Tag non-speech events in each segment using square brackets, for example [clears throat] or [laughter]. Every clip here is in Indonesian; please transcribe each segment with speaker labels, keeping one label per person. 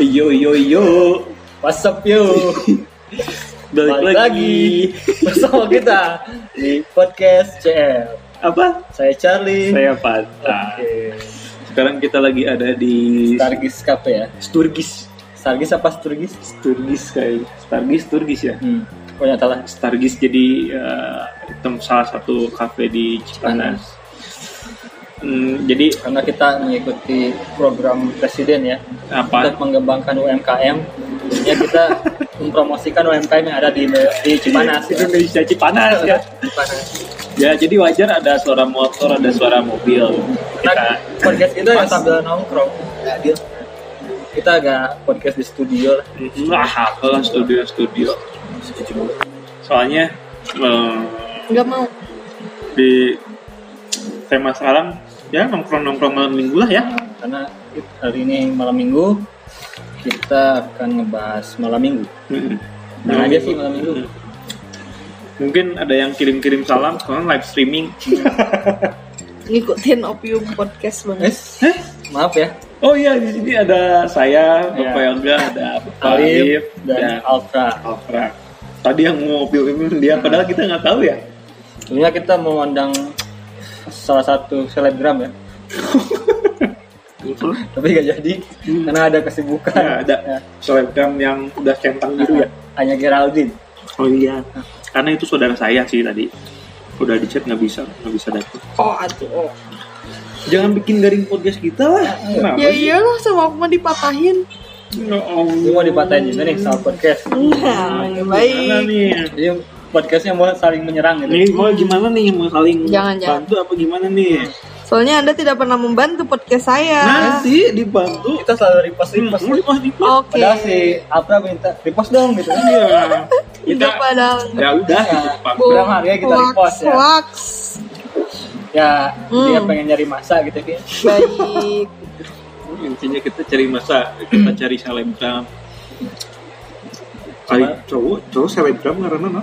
Speaker 1: Yo yo yo,
Speaker 2: What's up yo?
Speaker 1: [laughs] balik
Speaker 2: Balik lagi bersama kita di podcast CL.
Speaker 1: Apa?
Speaker 2: Saya Charlie.
Speaker 1: Saya Fanta.
Speaker 2: Oke.
Speaker 1: Sekarang kita lagi ada di
Speaker 2: Stargis Cafe ya.
Speaker 1: Sturgis.
Speaker 2: Stargis apa Sturgis?
Speaker 1: Sturgis kayak Stargis, Sturgis ya.
Speaker 2: Hmm. Oh nggak salah.
Speaker 1: Stargis jadi eh, tem- salah satu kafe di Cipanas. Hmm, jadi
Speaker 2: Karena kita mengikuti program presiden ya
Speaker 1: apa?
Speaker 2: untuk mengembangkan UMKM. Jadinya
Speaker 1: [laughs]
Speaker 2: kita mempromosikan UMKM yang ada di di Cipanas. ya.
Speaker 1: Indonesia Cipanas ya.
Speaker 2: Cipanas.
Speaker 1: Ya jadi wajar ada suara motor, ada suara mobil.
Speaker 2: Nah,
Speaker 1: Kita
Speaker 2: podcast kita
Speaker 1: Pas.
Speaker 2: yang sambil nongkrong. Nggak adil. Kita agak podcast di studio lah.
Speaker 1: Wah, apalah studio-studio. Soalnya eh,
Speaker 2: Nggak mau.
Speaker 1: di tema sekarang ya nongkrong-nongkrong malam minggu lah ya.
Speaker 2: karena hari ini malam minggu kita akan ngebahas malam minggu
Speaker 1: Mm-mm.
Speaker 2: Nah, aja sih malam minggu.
Speaker 1: Mm-mm. Mungkin ada yang kirim-kirim salam soalnya live streaming.
Speaker 3: ngikutin opium
Speaker 2: eh,
Speaker 3: podcast banget.
Speaker 2: maaf ya
Speaker 1: Oh iya di sini ada saya, Bapak
Speaker 2: Iya.
Speaker 1: Yoga, ada Bapak
Speaker 2: Alif
Speaker 1: Alif
Speaker 2: dan Alfa
Speaker 1: Alfra. Tadi yang mau pilih dia padahal kita nggak tahu ya.
Speaker 2: sebenarnya kita mau undang salah satu selebgram ya [laughs] tapi nggak jadi
Speaker 1: Hmm.
Speaker 2: karena ada kesibukan
Speaker 1: Ya, ada
Speaker 2: Ya.
Speaker 1: selebgram yang udah centang gitu ya.
Speaker 2: hanya Geraldine
Speaker 1: Oh iya, karena itu saudara saya sih tadi. Udah di chat nggak bisa, nggak bisa dapet.
Speaker 3: Oh atuh oh.
Speaker 1: Jangan bikin garing podcast kita lah.
Speaker 2: Iya.
Speaker 1: Kenapa
Speaker 3: Ya
Speaker 1: sih?
Speaker 3: iyalah sama aku mah dipatahin.
Speaker 1: Ya Allah.
Speaker 2: ini mau dipatahin juga nih sama podcast
Speaker 3: Nah,
Speaker 1: Aduh,
Speaker 3: yang
Speaker 1: gimana
Speaker 3: baik.
Speaker 1: nih?
Speaker 2: jadi podcastnya mau saling menyerang gitu
Speaker 1: Nih, mau gimana nih mau saling
Speaker 3: Jangan, jangan.
Speaker 1: bantu apa gimana nih?
Speaker 3: Soalnya Anda tidak pernah membantu podcast saya.
Speaker 1: Nanti dibantu.
Speaker 2: kita selalu repost
Speaker 1: Pas
Speaker 2: repost
Speaker 1: pas di pas.
Speaker 3: Oke.
Speaker 2: padahal si Alfa minta repost dong gitu
Speaker 1: Iya. Kita
Speaker 3: Udah pada
Speaker 1: ya udah gitu, Pak.
Speaker 2: Bu. Bilang harganya kita repost, ya.
Speaker 3: Wax.
Speaker 2: ya dia
Speaker 3: Hmm.
Speaker 2: pengen nyari masa gitu Ki.
Speaker 3: Baik.
Speaker 1: Intinya kita cari masa, kita cari selebgram. Cari
Speaker 2: Apa?
Speaker 1: cowok, cowok selebgram karena no?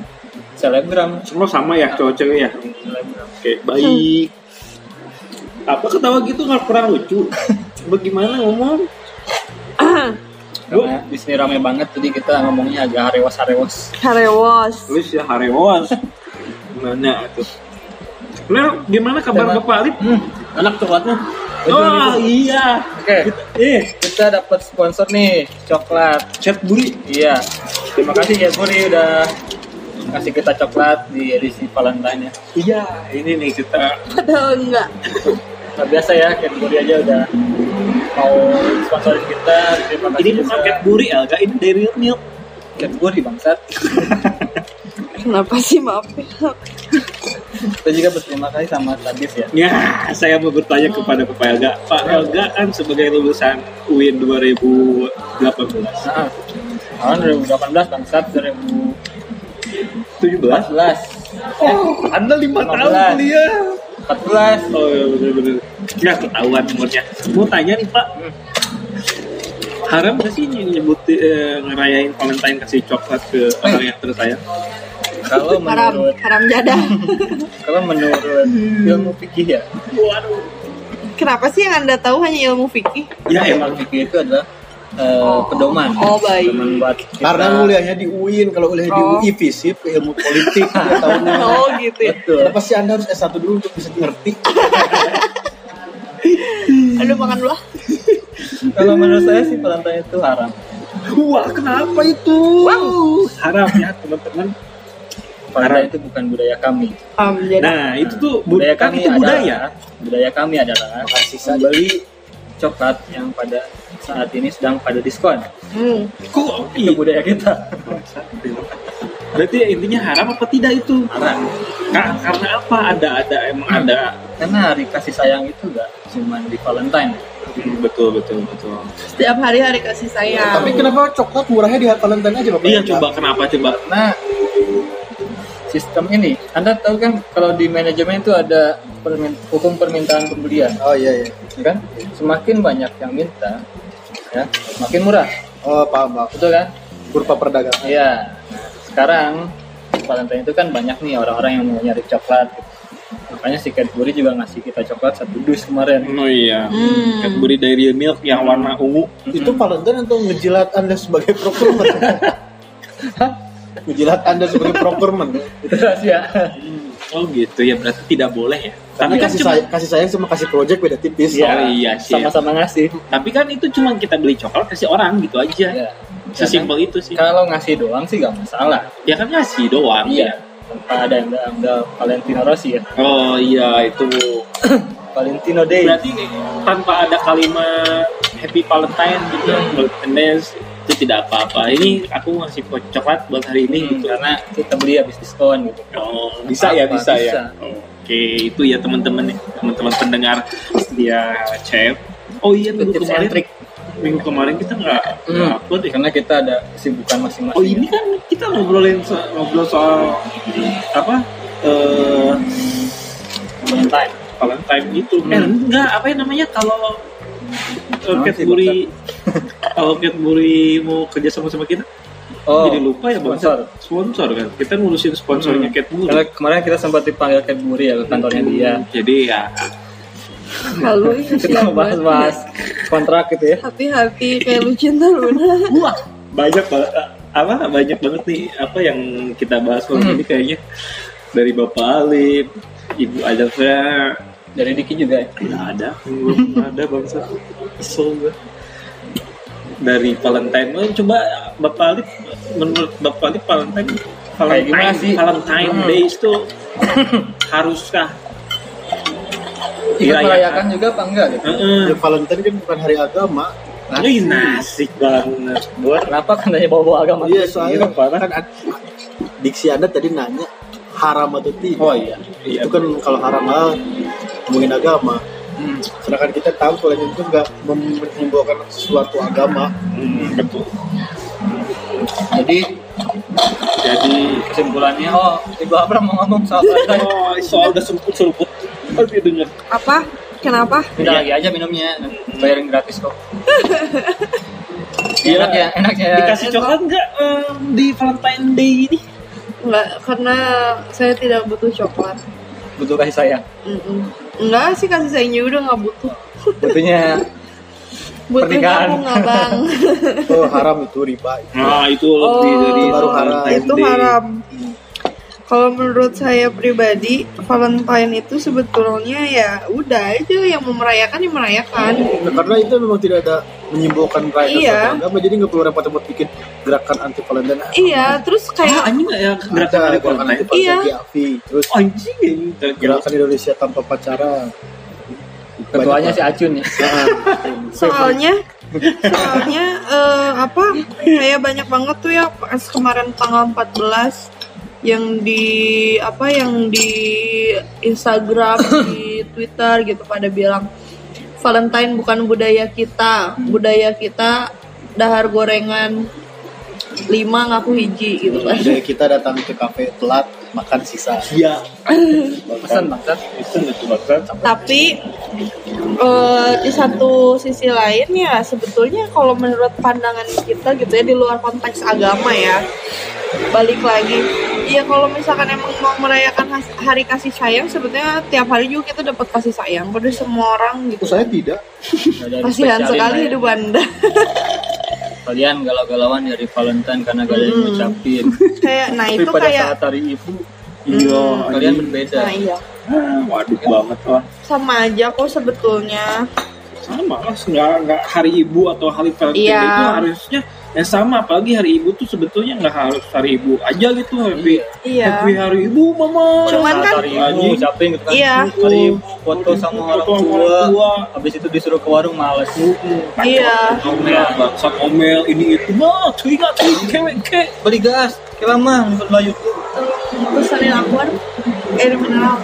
Speaker 2: selebgram
Speaker 1: Semua sama ya, cowok cewek ya.
Speaker 2: selebgram
Speaker 1: Oke, baik. Apa ketawa gitu nggak pernah lucu? Bagaimana ngomong?
Speaker 2: Karena di sini ramai banget, jadi kita ngomongnya agak harewas-harewos.
Speaker 3: Karewos.
Speaker 1: Terus ya harewas. Gimana tuh? Nah, gimana kabar
Speaker 2: Tema-
Speaker 1: Bapak Alif?
Speaker 2: Anak coklatnya.
Speaker 1: Oh iya.
Speaker 2: Oke,
Speaker 1: Eh,
Speaker 2: kita dapat sponsor nih, coklat.
Speaker 1: chat buri.
Speaker 2: Iya. Terima kasih ya Buri udah kasih kita coklat di edisi Valentine ya.
Speaker 1: Iya, ini nih kita.
Speaker 3: Padahal enggak.
Speaker 2: Luar biasa ya, Cat Buri aja udah mau sponsorin kita. Terima kasih.
Speaker 1: Ini bukan
Speaker 2: juga.
Speaker 1: cat buri, Alga. Ini dari real milk.
Speaker 2: Cat Buri bangsat.
Speaker 3: Kenapa sih maaf ya?
Speaker 2: Kita juga berterima kasih sama Tadis ya.
Speaker 1: Ya, saya mau bertanya kepada Bapak Elga. Pak Elga kan sebagai lulusan UIN 2018.
Speaker 2: Nah, tahun 2018 bangsat 2014.
Speaker 1: 17? Oh, Anda 5 tahun
Speaker 2: 15.
Speaker 1: kuliah.
Speaker 2: 14
Speaker 1: Oh iya bener-bener Ya ketahuan umurnya Mau tanya nih pak Haram gak sih nyebut eh, ngerayain Valentine kasih coklat ke orang yang tersayang?
Speaker 2: kalau
Speaker 3: Haram, Hmm.
Speaker 2: menurut
Speaker 3: haram jadah.
Speaker 2: kalau menurut ilmu fikih ya
Speaker 1: Waduh
Speaker 3: [laughs] Kenapa sih yang Anda tahu hanya ilmu fikih?
Speaker 1: Ya emang
Speaker 2: ilmu fikih itu adalah eh, pedoman
Speaker 3: Oh, baik.
Speaker 2: pedoman buat kita
Speaker 4: Karena kuliahnya di UIN, kalau kuliah di
Speaker 3: Oh.
Speaker 4: UI fisip ke ilmu
Speaker 1: [laughs]
Speaker 4: politik ya tahunnya.
Speaker 3: Oh gitu ya.
Speaker 2: betul
Speaker 4: Kenapa sih Anda harus S1 dulu untuk bisa ngerti?
Speaker 3: Aduh makan dulu ah.
Speaker 2: kalau menurut saya sih Valentine itu haram
Speaker 1: Wah kenapa itu? Haram ya teman-teman
Speaker 2: Valentine itu bukan budaya kami
Speaker 3: Haram jadah.
Speaker 1: Nah itu tuh
Speaker 2: budaya
Speaker 1: budaya kan
Speaker 2: kami
Speaker 1: itu
Speaker 2: adalah
Speaker 1: budaya
Speaker 2: budaya kami adalah membeli coklat yang pada saat ini sedang pada diskon
Speaker 3: Hmm.
Speaker 1: Kok
Speaker 2: itu
Speaker 1: i-
Speaker 2: budaya kita
Speaker 1: Berarti intinya haram apa tidak itu?
Speaker 2: haram
Speaker 1: Ka- karena apa? Ada ada emang ada
Speaker 2: karena hari kasih sayang itu gak cuma di Valentine
Speaker 1: Hmm, Betul betul betul
Speaker 3: Setiap hari hari kasih sayang.
Speaker 4: Tapi kenapa coklat murahnya di Valentine aja Bapak?
Speaker 1: Iya coba kenapa coba
Speaker 2: karena sistem ini anda tahu kan kalau di manajemen itu ada permin- hukum permintaan pembelian
Speaker 4: Oh iya iya.
Speaker 2: ya kan semakin banyak yang minta ya makin murah
Speaker 4: Oh paham paham.
Speaker 2: betul kan
Speaker 4: Kurva perdagangan.
Speaker 2: iya Nah, sekarang Valentine itu kan banyak nih orang-orang yang mau nyari coklat. gitu. Makanya si Cadbury juga ngasih kita coklat satu dus kemarin. [laughs]
Speaker 1: Oh iya.
Speaker 3: Hmm.
Speaker 1: Cadbury Dairy Milk yang warna ungu.
Speaker 4: Itu Valentine untuk ngejilat Anda sebagai procurement.
Speaker 1: [laughs]
Speaker 4: ngejilat Anda sebagai procurement.
Speaker 2: Itu rahasia.
Speaker 1: Oh gitu ya berarti tidak boleh ya.
Speaker 4: Tapi
Speaker 1: Tapi kan
Speaker 4: kasih,
Speaker 1: cuma
Speaker 4: say- kasih sayang sama kasih project beda tipis.
Speaker 1: Iya. Oh iya sih.
Speaker 2: Sama-sama ngasih.
Speaker 1: tapi kan itu cuma kita beli coklat kasih orang gitu aja.
Speaker 2: Iya.
Speaker 1: Sesimpel itu sih.
Speaker 2: Kalau ngasih doang sih gak masalah.
Speaker 1: Ya kan ngasih doang.
Speaker 2: Iya. Tanpa ada yang ada Valentino Rossi ya.
Speaker 1: Oh iya itu.
Speaker 2: Valentino Day.
Speaker 1: Berarti tanpa ada kalimat Happy Valentine gitu,
Speaker 2: Iya.
Speaker 1: Valentine Days, itu tidak apa-apa. Ini aku ngasih coklat buat hari
Speaker 2: Hmm.
Speaker 1: ini gitu karena
Speaker 2: kita beli habis diskon gitu.
Speaker 1: Oh, bisa ya,
Speaker 2: Apa?
Speaker 1: bisa,
Speaker 2: Bisa.
Speaker 1: ya. Oke, itu ya teman-teman, teman-teman pendengar setia chef. Oh iya, minggu
Speaker 2: Tips and
Speaker 1: kemarin,
Speaker 2: trick.
Speaker 1: minggu kemarin kita nggak nggak
Speaker 2: Hmm.
Speaker 1: upload ya.
Speaker 2: Karena kita ada kesibukan masing-masing.
Speaker 1: Oh ini kan kita ngobrolin so- ngobrol soal apa eh
Speaker 2: Valentine.
Speaker 1: Valentine itu.
Speaker 2: Hmm.
Speaker 1: Eh, enggak, apa yang namanya kalau eh,
Speaker 2: Apa sih,
Speaker 1: Cadbury kalau Cadbury mau kerja sama sama kita
Speaker 2: Oh,
Speaker 1: jadi lupa ya bang
Speaker 2: sponsor.
Speaker 1: sponsor kan kita ngurusin sponsornya
Speaker 2: Hmm.
Speaker 1: Cadbury
Speaker 2: Karena kemarin kita sempat dipanggil Cadbury ya ke kantornya dia.
Speaker 1: jadi ya
Speaker 3: Lalu ini iya sih
Speaker 2: Kita bahas-bahas kontrak gitu ya.
Speaker 3: Hati-hati kayak lu cinta Luna.
Speaker 1: Wah, banyak ba- apa banyak banget nih apa yang kita bahas malam ini kayaknya dari Bapak Alif, Ibu Adafra,
Speaker 2: Dari Diki juga ya.
Speaker 1: tidak ada, belum ada bangsa kesel gue. Dari Valentine, Oh, coba Bapak Alif, menurut Bapak Alif Valentine,
Speaker 2: Kayak gimana
Speaker 1: Valentine,
Speaker 2: sih?
Speaker 1: Valentine
Speaker 2: Hmm.
Speaker 1: Days itu haruskah?
Speaker 2: Ikut
Speaker 1: Dirayakan.
Speaker 2: Iya, merayakan juga apa enggak gitu?
Speaker 1: Heeh.
Speaker 4: Ya, Valentine kan bukan hari agama.
Speaker 1: Ih, nasik banget.
Speaker 2: Kenapa katanya bawa-bawa agama? Gitu,
Speaker 4: Iya, soalnya
Speaker 1: Iya, parah.
Speaker 4: kan ad- diksi Anda tadi nanya haram atau tidak.
Speaker 2: Oh iya.
Speaker 1: Iya.
Speaker 4: Itu kan kalau haram hal ngomongin agama.
Speaker 2: Hmm.
Speaker 4: Sedangkan kita tahu kalau itu nggak mem- membawakan sesuatu agama.
Speaker 1: Hmm, betul.
Speaker 2: Jadi
Speaker 1: Jadi
Speaker 2: kesimpulannya oh Ibu Abram mau ngomong
Speaker 1: [laughs]
Speaker 2: soal Valentine.
Speaker 1: Oh, soal udah seruput-seruput. Aduh, denger.
Speaker 3: Apa? Kenapa?
Speaker 1: Iya.
Speaker 2: Minta lagi aja minumnya, bayarin gratis
Speaker 1: [laughs]
Speaker 2: kok. enak ya, enak ya.
Speaker 1: Dikasih coklat nggak em, di Valentine Day ini?
Speaker 3: Enggak, karena saya tidak butuh coklat.
Speaker 2: Butuh kasih sayang.
Speaker 3: Mm-mm. Enggak sih kasih sayang juga udah nggak butuh.
Speaker 2: Butuhnya
Speaker 3: Butuh
Speaker 2: Pernikahan.
Speaker 3: kamu nggak bang?
Speaker 4: Oh, haram itu riba.
Speaker 1: Nah, itu lebih
Speaker 3: Oh,
Speaker 1: dari
Speaker 4: baru
Speaker 1: Valentine
Speaker 3: itu
Speaker 1: Day.
Speaker 3: haram. Kalau menurut saya pribadi, Valentine itu sebetulnya ya udah aja yang mau merayakan ya merayakan.
Speaker 4: Nah, karena itu memang tidak ada menyimbolkan rakyat
Speaker 3: Iya.
Speaker 4: suatu agama, jadi nggak perlu repot repot bikin gerakan anti Valentine.
Speaker 3: Iya, terus
Speaker 1: Ah,
Speaker 3: kayak
Speaker 1: anjing nggak ya
Speaker 4: Ada
Speaker 1: gerakan hari
Speaker 4: gerakan anti
Speaker 1: Valentine?
Speaker 3: Iya.
Speaker 4: Valentine GAVI, terus
Speaker 1: Anjing ya, ini gerakan.
Speaker 2: Iya.
Speaker 4: gerakan Indonesia tanpa pacaran. Nah,
Speaker 2: ketuanya si Acun ya.
Speaker 3: soalnya soalnya eh, apa kayak banyak banget tuh ya pas kemarin tanggal 14 yang di apa yang di Instagram di Twitter gitu pada bilang Valentine bukan budaya kita budaya kita dahar gorengan lima ngaku hiji gitu kan
Speaker 4: Jadi kita datang ke kafe telat makan sisa.
Speaker 1: Iya.
Speaker 2: Pesan bangsat.
Speaker 1: Itu nggak tuh, Bangsat.
Speaker 3: tapi eh, di satu sisi lain ya sebetulnya kalau menurut pandangan kita gitu ya di luar konteks agama ya balik lagi ya kalau misalkan emang mau merayakan has- hari kasih sayang sebetulnya tiap hari juga kita dapat kasih sayang pada semua orang
Speaker 4: Itu
Speaker 3: gitu
Speaker 4: saya tidak.
Speaker 3: kasihan
Speaker 2: ya.
Speaker 3: sekali hidup anda [laughs]
Speaker 2: Kalian galau-galauan dari Valentine karena gak ada yang ngucapin.
Speaker 3: kayak Hmm. nah
Speaker 2: Tapi
Speaker 3: itu
Speaker 2: pada
Speaker 3: kayak Hmm.
Speaker 2: saat hari ibu,
Speaker 1: Iya,
Speaker 2: kalian
Speaker 1: anjing.
Speaker 2: berbeda.
Speaker 3: nah iya
Speaker 1: Ah, Waduh banget lah.
Speaker 3: sama aja kok sebetulnya
Speaker 1: Sama lah, nggak nggak hari ibu atau hari Valentine
Speaker 3: Iya.
Speaker 1: Day itu harusnya yang sama. Apalagi hari ibu tuh sebetulnya nggak harus hari ibu aja gitu. Happy,
Speaker 3: Iya.
Speaker 1: happy hari ibu, mama.
Speaker 2: Pada
Speaker 3: Cuman
Speaker 2: saat
Speaker 3: kan-
Speaker 2: hari ibu
Speaker 1: Anjing.
Speaker 2: ngucapin gitu kan.
Speaker 3: Iya.
Speaker 2: Hari ibu foto sama orang
Speaker 1: Foto sama
Speaker 2: tua.
Speaker 1: orang tua.
Speaker 2: Habis itu disuruh ke warung males.
Speaker 3: Iya.
Speaker 1: Omel, bangsat omel ini itu mah cuy nggak cuy cewek ke
Speaker 2: Beli gas, ke lama nonton Melayu.
Speaker 3: pesanin akuan air mineral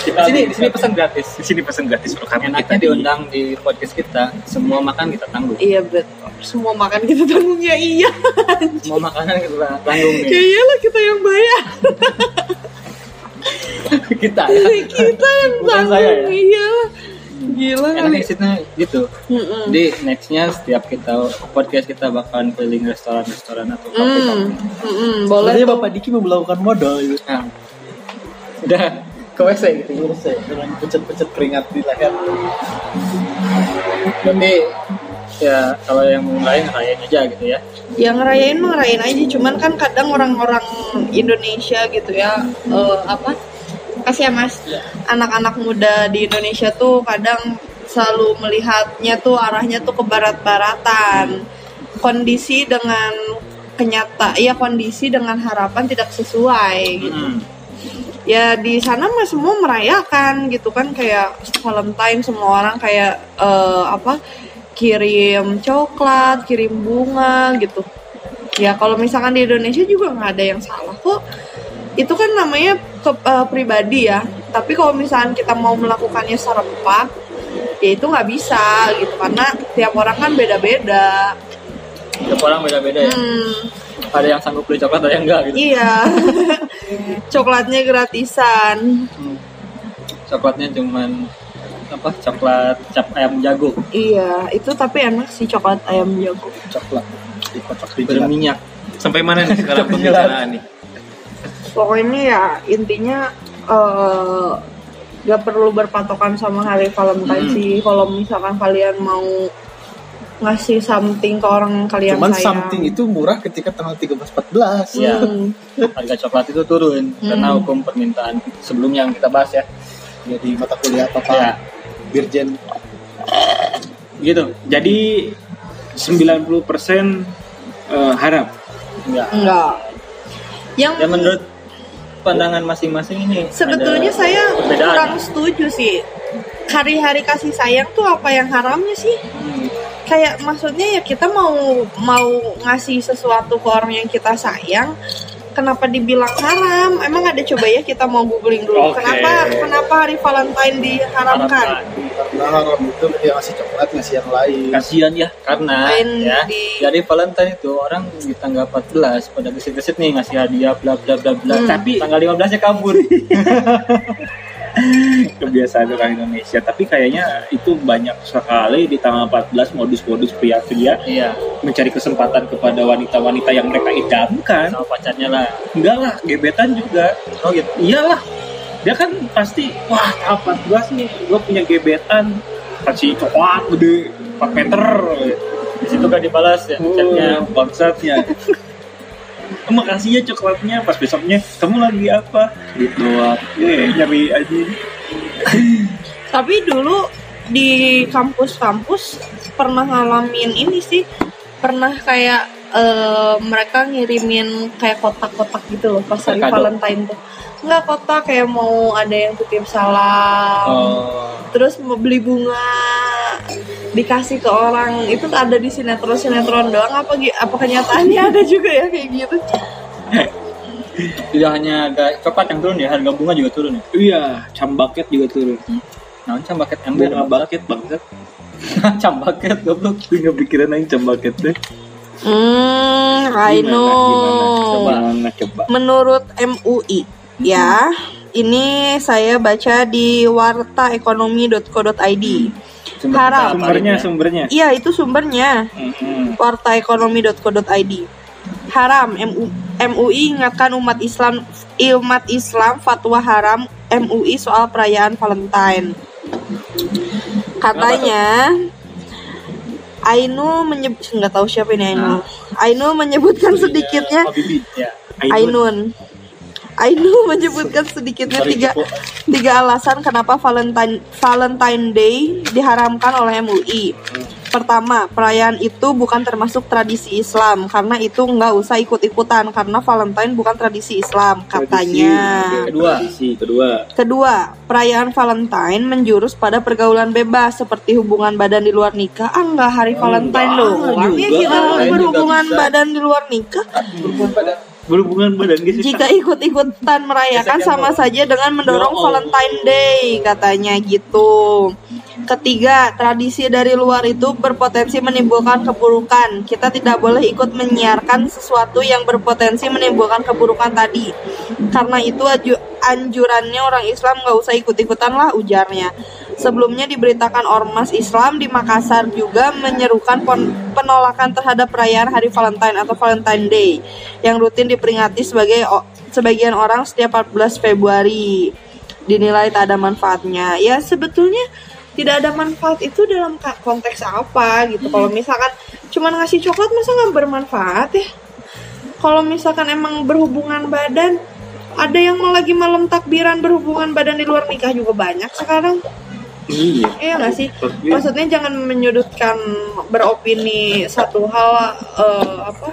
Speaker 1: kita
Speaker 2: Sini, sini pesan gratis.
Speaker 1: di sini pesan gratis untuk kamu
Speaker 2: Enaknya diundang di podcast kita, semua makan kita tanggung.
Speaker 3: Iya betul. Semua makan kita tanggung ya iya.
Speaker 2: Semua makanan kita tanggung
Speaker 3: Ya
Speaker 2: nih.
Speaker 3: iyalah kita yang bayar.
Speaker 2: kita ya.
Speaker 3: [laughs] Kita yang
Speaker 2: Bukan
Speaker 3: tanggung.
Speaker 2: saya ya?
Speaker 3: Iya. Gila kali.
Speaker 2: enaknya situ gitu
Speaker 3: Mm-mm.
Speaker 2: jadi nextnya setiap kita podcast kita bakalan keliling restoran-restoran atau
Speaker 3: Mm,
Speaker 2: kafe-kafe
Speaker 3: mm-mm, boleh.
Speaker 4: Sebenarnya Bapak Diki memperlakukan modal gitu.
Speaker 2: nah, udah ke WC gitu
Speaker 4: Selesai dengan pecet-pecet keringat di leher.
Speaker 2: tapi ya kalau yang mau lain rayain aja gitu ya
Speaker 3: Yang ngerayain mah ngerayain aja, cuman kan kadang orang-orang Indonesia gitu ya eh, apa? Kasih ya Mas. Anak-anak muda di Indonesia tuh kadang selalu melihatnya tuh arahnya tuh ke barat-baratan. Kondisi dengan kenyata, ya kondisi dengan harapan tidak sesuai gitu.
Speaker 2: Hmm.
Speaker 3: ya di sana mah semua merayakan gitu kan kayak Valentine semua orang kayak eh, apa kirim coklat, kirim bunga gitu. Ya kalau misalkan di Indonesia juga nggak ada yang salah kok. Itu kan namanya ke- eh, pribadi ya. Tapi kalau misalkan kita mau melakukannya serempak, ya itu nggak bisa gitu karena tiap orang kan beda-beda.
Speaker 2: Tiap orang beda-beda ya.
Speaker 3: Hmm.
Speaker 2: Ada yang sanggup beli coklat, ada yang enggak gitu.
Speaker 3: Iya, [laughs] coklatnya gratisan.
Speaker 2: Coklatnya cuman apa? Coklat cap ayam jago,
Speaker 3: Iya, itu tapi enak sih coklat ayam jago.
Speaker 4: Coklat. Dikocok di jilat.
Speaker 2: berminyak.
Speaker 1: Sampai mana nih sekarang pembicaraan nih?
Speaker 3: Pokoknya ya intinya eh, nggak perlu berpatokan sama hari
Speaker 4: Hmm.
Speaker 3: Valentine sih. Kalau misalkan kalian mau ngasih something ke orang yang kalian
Speaker 4: Cuman
Speaker 3: sayang.
Speaker 4: something itu murah ketika tanggal 13-14.
Speaker 2: Ya,
Speaker 3: Hmm.
Speaker 2: harga coklat itu turun karena hukum permintaan sebelumnya yang kita bahas ya.
Speaker 4: Jadi mata kuliah apa Pak?
Speaker 2: Ya,
Speaker 4: Dirjen.
Speaker 2: gitu.
Speaker 1: Jadi 90% eh, harap.
Speaker 2: Enggak.
Speaker 3: Enggak. Yang
Speaker 2: Ya menurut pandangan masing-masing ini
Speaker 3: sebetulnya
Speaker 2: ada
Speaker 3: saya
Speaker 2: perbedaan.
Speaker 3: kurang setuju sih. Hari-hari kasih sayang tuh apa yang haramnya sih?
Speaker 2: Hmm.
Speaker 3: kayak maksudnya ya kita mau mau ngasih sesuatu ke orang yang kita sayang kenapa dibilang haram emang ada coba ya kita mau googling dulu
Speaker 1: Oke.
Speaker 3: kenapa kenapa hari Valentine diharamkan
Speaker 2: Haramkan.
Speaker 4: Karena haram itu dia ngasih coklat, ngasih yang lain.
Speaker 2: Kan.
Speaker 1: Kasihan ya.
Speaker 2: karena
Speaker 3: Main
Speaker 2: ya
Speaker 3: di-
Speaker 2: dari Valentine itu orang di tanggal 14 pada gesit-gesit nih ngasih hadiah bla bla bla bla
Speaker 3: Hmm.
Speaker 1: Tapi-
Speaker 2: tanggal 15 nya kabur
Speaker 1: kebiasaan orang Indonesia tapi kayaknya itu banyak sekali di tanggal 14 modus-modus pria-pria
Speaker 2: iya
Speaker 1: mencari kesempatan kepada wanita-wanita yang mereka idamkan
Speaker 2: sama pacarnya lah
Speaker 1: enggak lah gebetan juga
Speaker 2: oh gitu
Speaker 1: iyalah dia kan pasti wah tanggal 14 nih gue punya gebetan kasih coklat gede 4 meter
Speaker 2: di situ gak dibalas ya
Speaker 1: Hmm.
Speaker 2: chatnya
Speaker 1: chatnya bangsatnya makasih ya coklatnya pas besoknya kamu lagi apa gitu eh nyari aja
Speaker 3: tapi dulu di kampus-kampus pernah ngalamin ini sih pernah kayak eh, mereka ngirimin kayak kotak-kotak gitu loh pas hari
Speaker 2: Kado.
Speaker 3: Valentine tuh nggak kotak kayak mau ada yang titip salam
Speaker 2: oh
Speaker 3: terus mau beli bunga dikasih ke orang itu ada di sinetron sinetron doang apa gi- apa kenyataannya ada juga ya kayak gitu
Speaker 2: tidak hanya ada coklat yang turun ya harga bunga juga turun ya
Speaker 1: iya cambaket juga turun
Speaker 2: nah cambaket ember
Speaker 1: bunga baket bangsat
Speaker 2: cambaket goblok
Speaker 1: Gue gak pikiran aja cambaket deh
Speaker 3: hmm I
Speaker 1: Coba
Speaker 3: know
Speaker 1: Gimana coba
Speaker 3: menurut MUI ya ini saya baca di wartaekonomi.co.id
Speaker 1: Sumbernya Mm-hmm.
Speaker 3: Haram.
Speaker 2: sumbernya
Speaker 1: sumbernya
Speaker 3: iya itu sumbernya
Speaker 1: Mm-mm.
Speaker 3: wartaekonomi.co.id haram MU- MUI ingatkan umat Islam umat Islam fatwa haram MUI soal perayaan Valentine katanya Ainu menyebut nggak tahu siapa ini
Speaker 1: Nah.
Speaker 3: Ainu Ainu menyebutkan sedikitnya
Speaker 2: ya
Speaker 3: Ainun. Ainun [laughs] menyebutkan sedikitnya tiga, tiga alasan kenapa Valentine Valentine Day diharamkan oleh MUI. Pertama, perayaan itu bukan termasuk tradisi Islam karena itu nggak usah ikut-ikutan karena Valentine bukan tradisi Islam katanya.
Speaker 1: Tradisi. kedua sih kedua
Speaker 3: Kedua, perayaan Valentine menjurus pada pergaulan bebas seperti hubungan badan di luar nikah. Ah, nggak hari Valentine loh.
Speaker 1: juga.
Speaker 3: Ya kita
Speaker 2: Ini nggak
Speaker 3: berhubungan
Speaker 2: bisa.
Speaker 3: badan di luar nikah
Speaker 4: Berhubungan pada
Speaker 1: berhubungan badan gitu
Speaker 3: jika ikut-ikutan merayakan sama saja dengan mendorong Valentine Day katanya gitu. Ketiga, tradisi dari luar itu berpotensi menimbulkan keburukan. Kita tidak boleh ikut menyiarkan sesuatu yang berpotensi menimbulkan keburukan tadi. Karena itu aju- anjurannya orang Islam nggak usah ikut-ikutan lah ujarnya. Sebelumnya diberitakan ormas Islam di Makassar juga menyerukan pon- penolakan terhadap perayaan Hari Valentine atau Valentine Day yang rutin diperingati sebagai o- sebagian orang setiap 14 Februari dinilai tak ada manfaatnya. Ya sebetulnya tidak ada manfaat itu dalam ka- konteks apa gitu. Kalau misalkan cuman ngasih coklat masa nggak bermanfaat ya? Kalau misalkan emang berhubungan badan, ada yang mau lagi malam takbiran berhubungan badan di luar nikah juga banyak sekarang.
Speaker 1: Iya.
Speaker 3: Iya nggak sih?
Speaker 1: Tapi-
Speaker 3: Maksudnya jangan menyudutkan beropini satu hal eh, apa?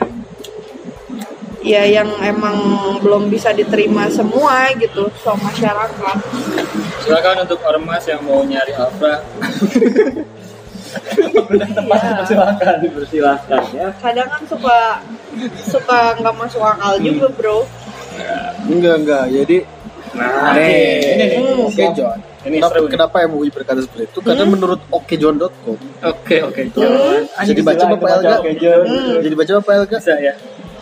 Speaker 3: Ya yang emang belum bisa diterima semua gitu sama masyarakat.
Speaker 2: Silakan untuk ormas yang mau nyari Alfa. Iya.
Speaker 1: Silakan dipersilakan ya.
Speaker 3: Kadang kan suka suka nggak masuk akal juga bro.
Speaker 4: Enggak, enggak. Jadi
Speaker 1: Nah,
Speaker 2: Ini nih,
Speaker 3: Hmm.
Speaker 2: Oke John. Ini
Speaker 4: kenapa,
Speaker 2: seru. nih.
Speaker 4: kenapa MUI berkata seperti itu? Karena menurut okejohn.com
Speaker 2: Oke oke John.
Speaker 4: Hmm? jadi baca
Speaker 2: silakan
Speaker 4: Bapak
Speaker 2: baca,
Speaker 4: Elga. Hmm.
Speaker 2: Oke John.
Speaker 4: Jadi baca Bapak Elga
Speaker 2: Bisa ya.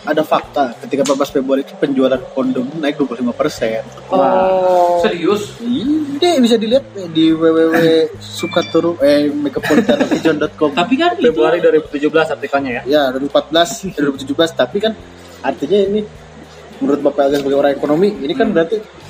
Speaker 4: ada fakta ketika 14 Februari itu penjualan kondom naik 25 persen.
Speaker 3: Oh.
Speaker 5: Serius?
Speaker 4: Ini bisa dilihat eh,
Speaker 2: [laughs]
Speaker 4: di www sukaturu eh megapolitanokejohn.com.
Speaker 1: tapi kan itu
Speaker 2: Februari 2017 artikelnya ya.
Speaker 4: ya 2014 2017 tapi kan artinya ini menurut Bapak Elga sebagai orang ekonomi ini kan berarti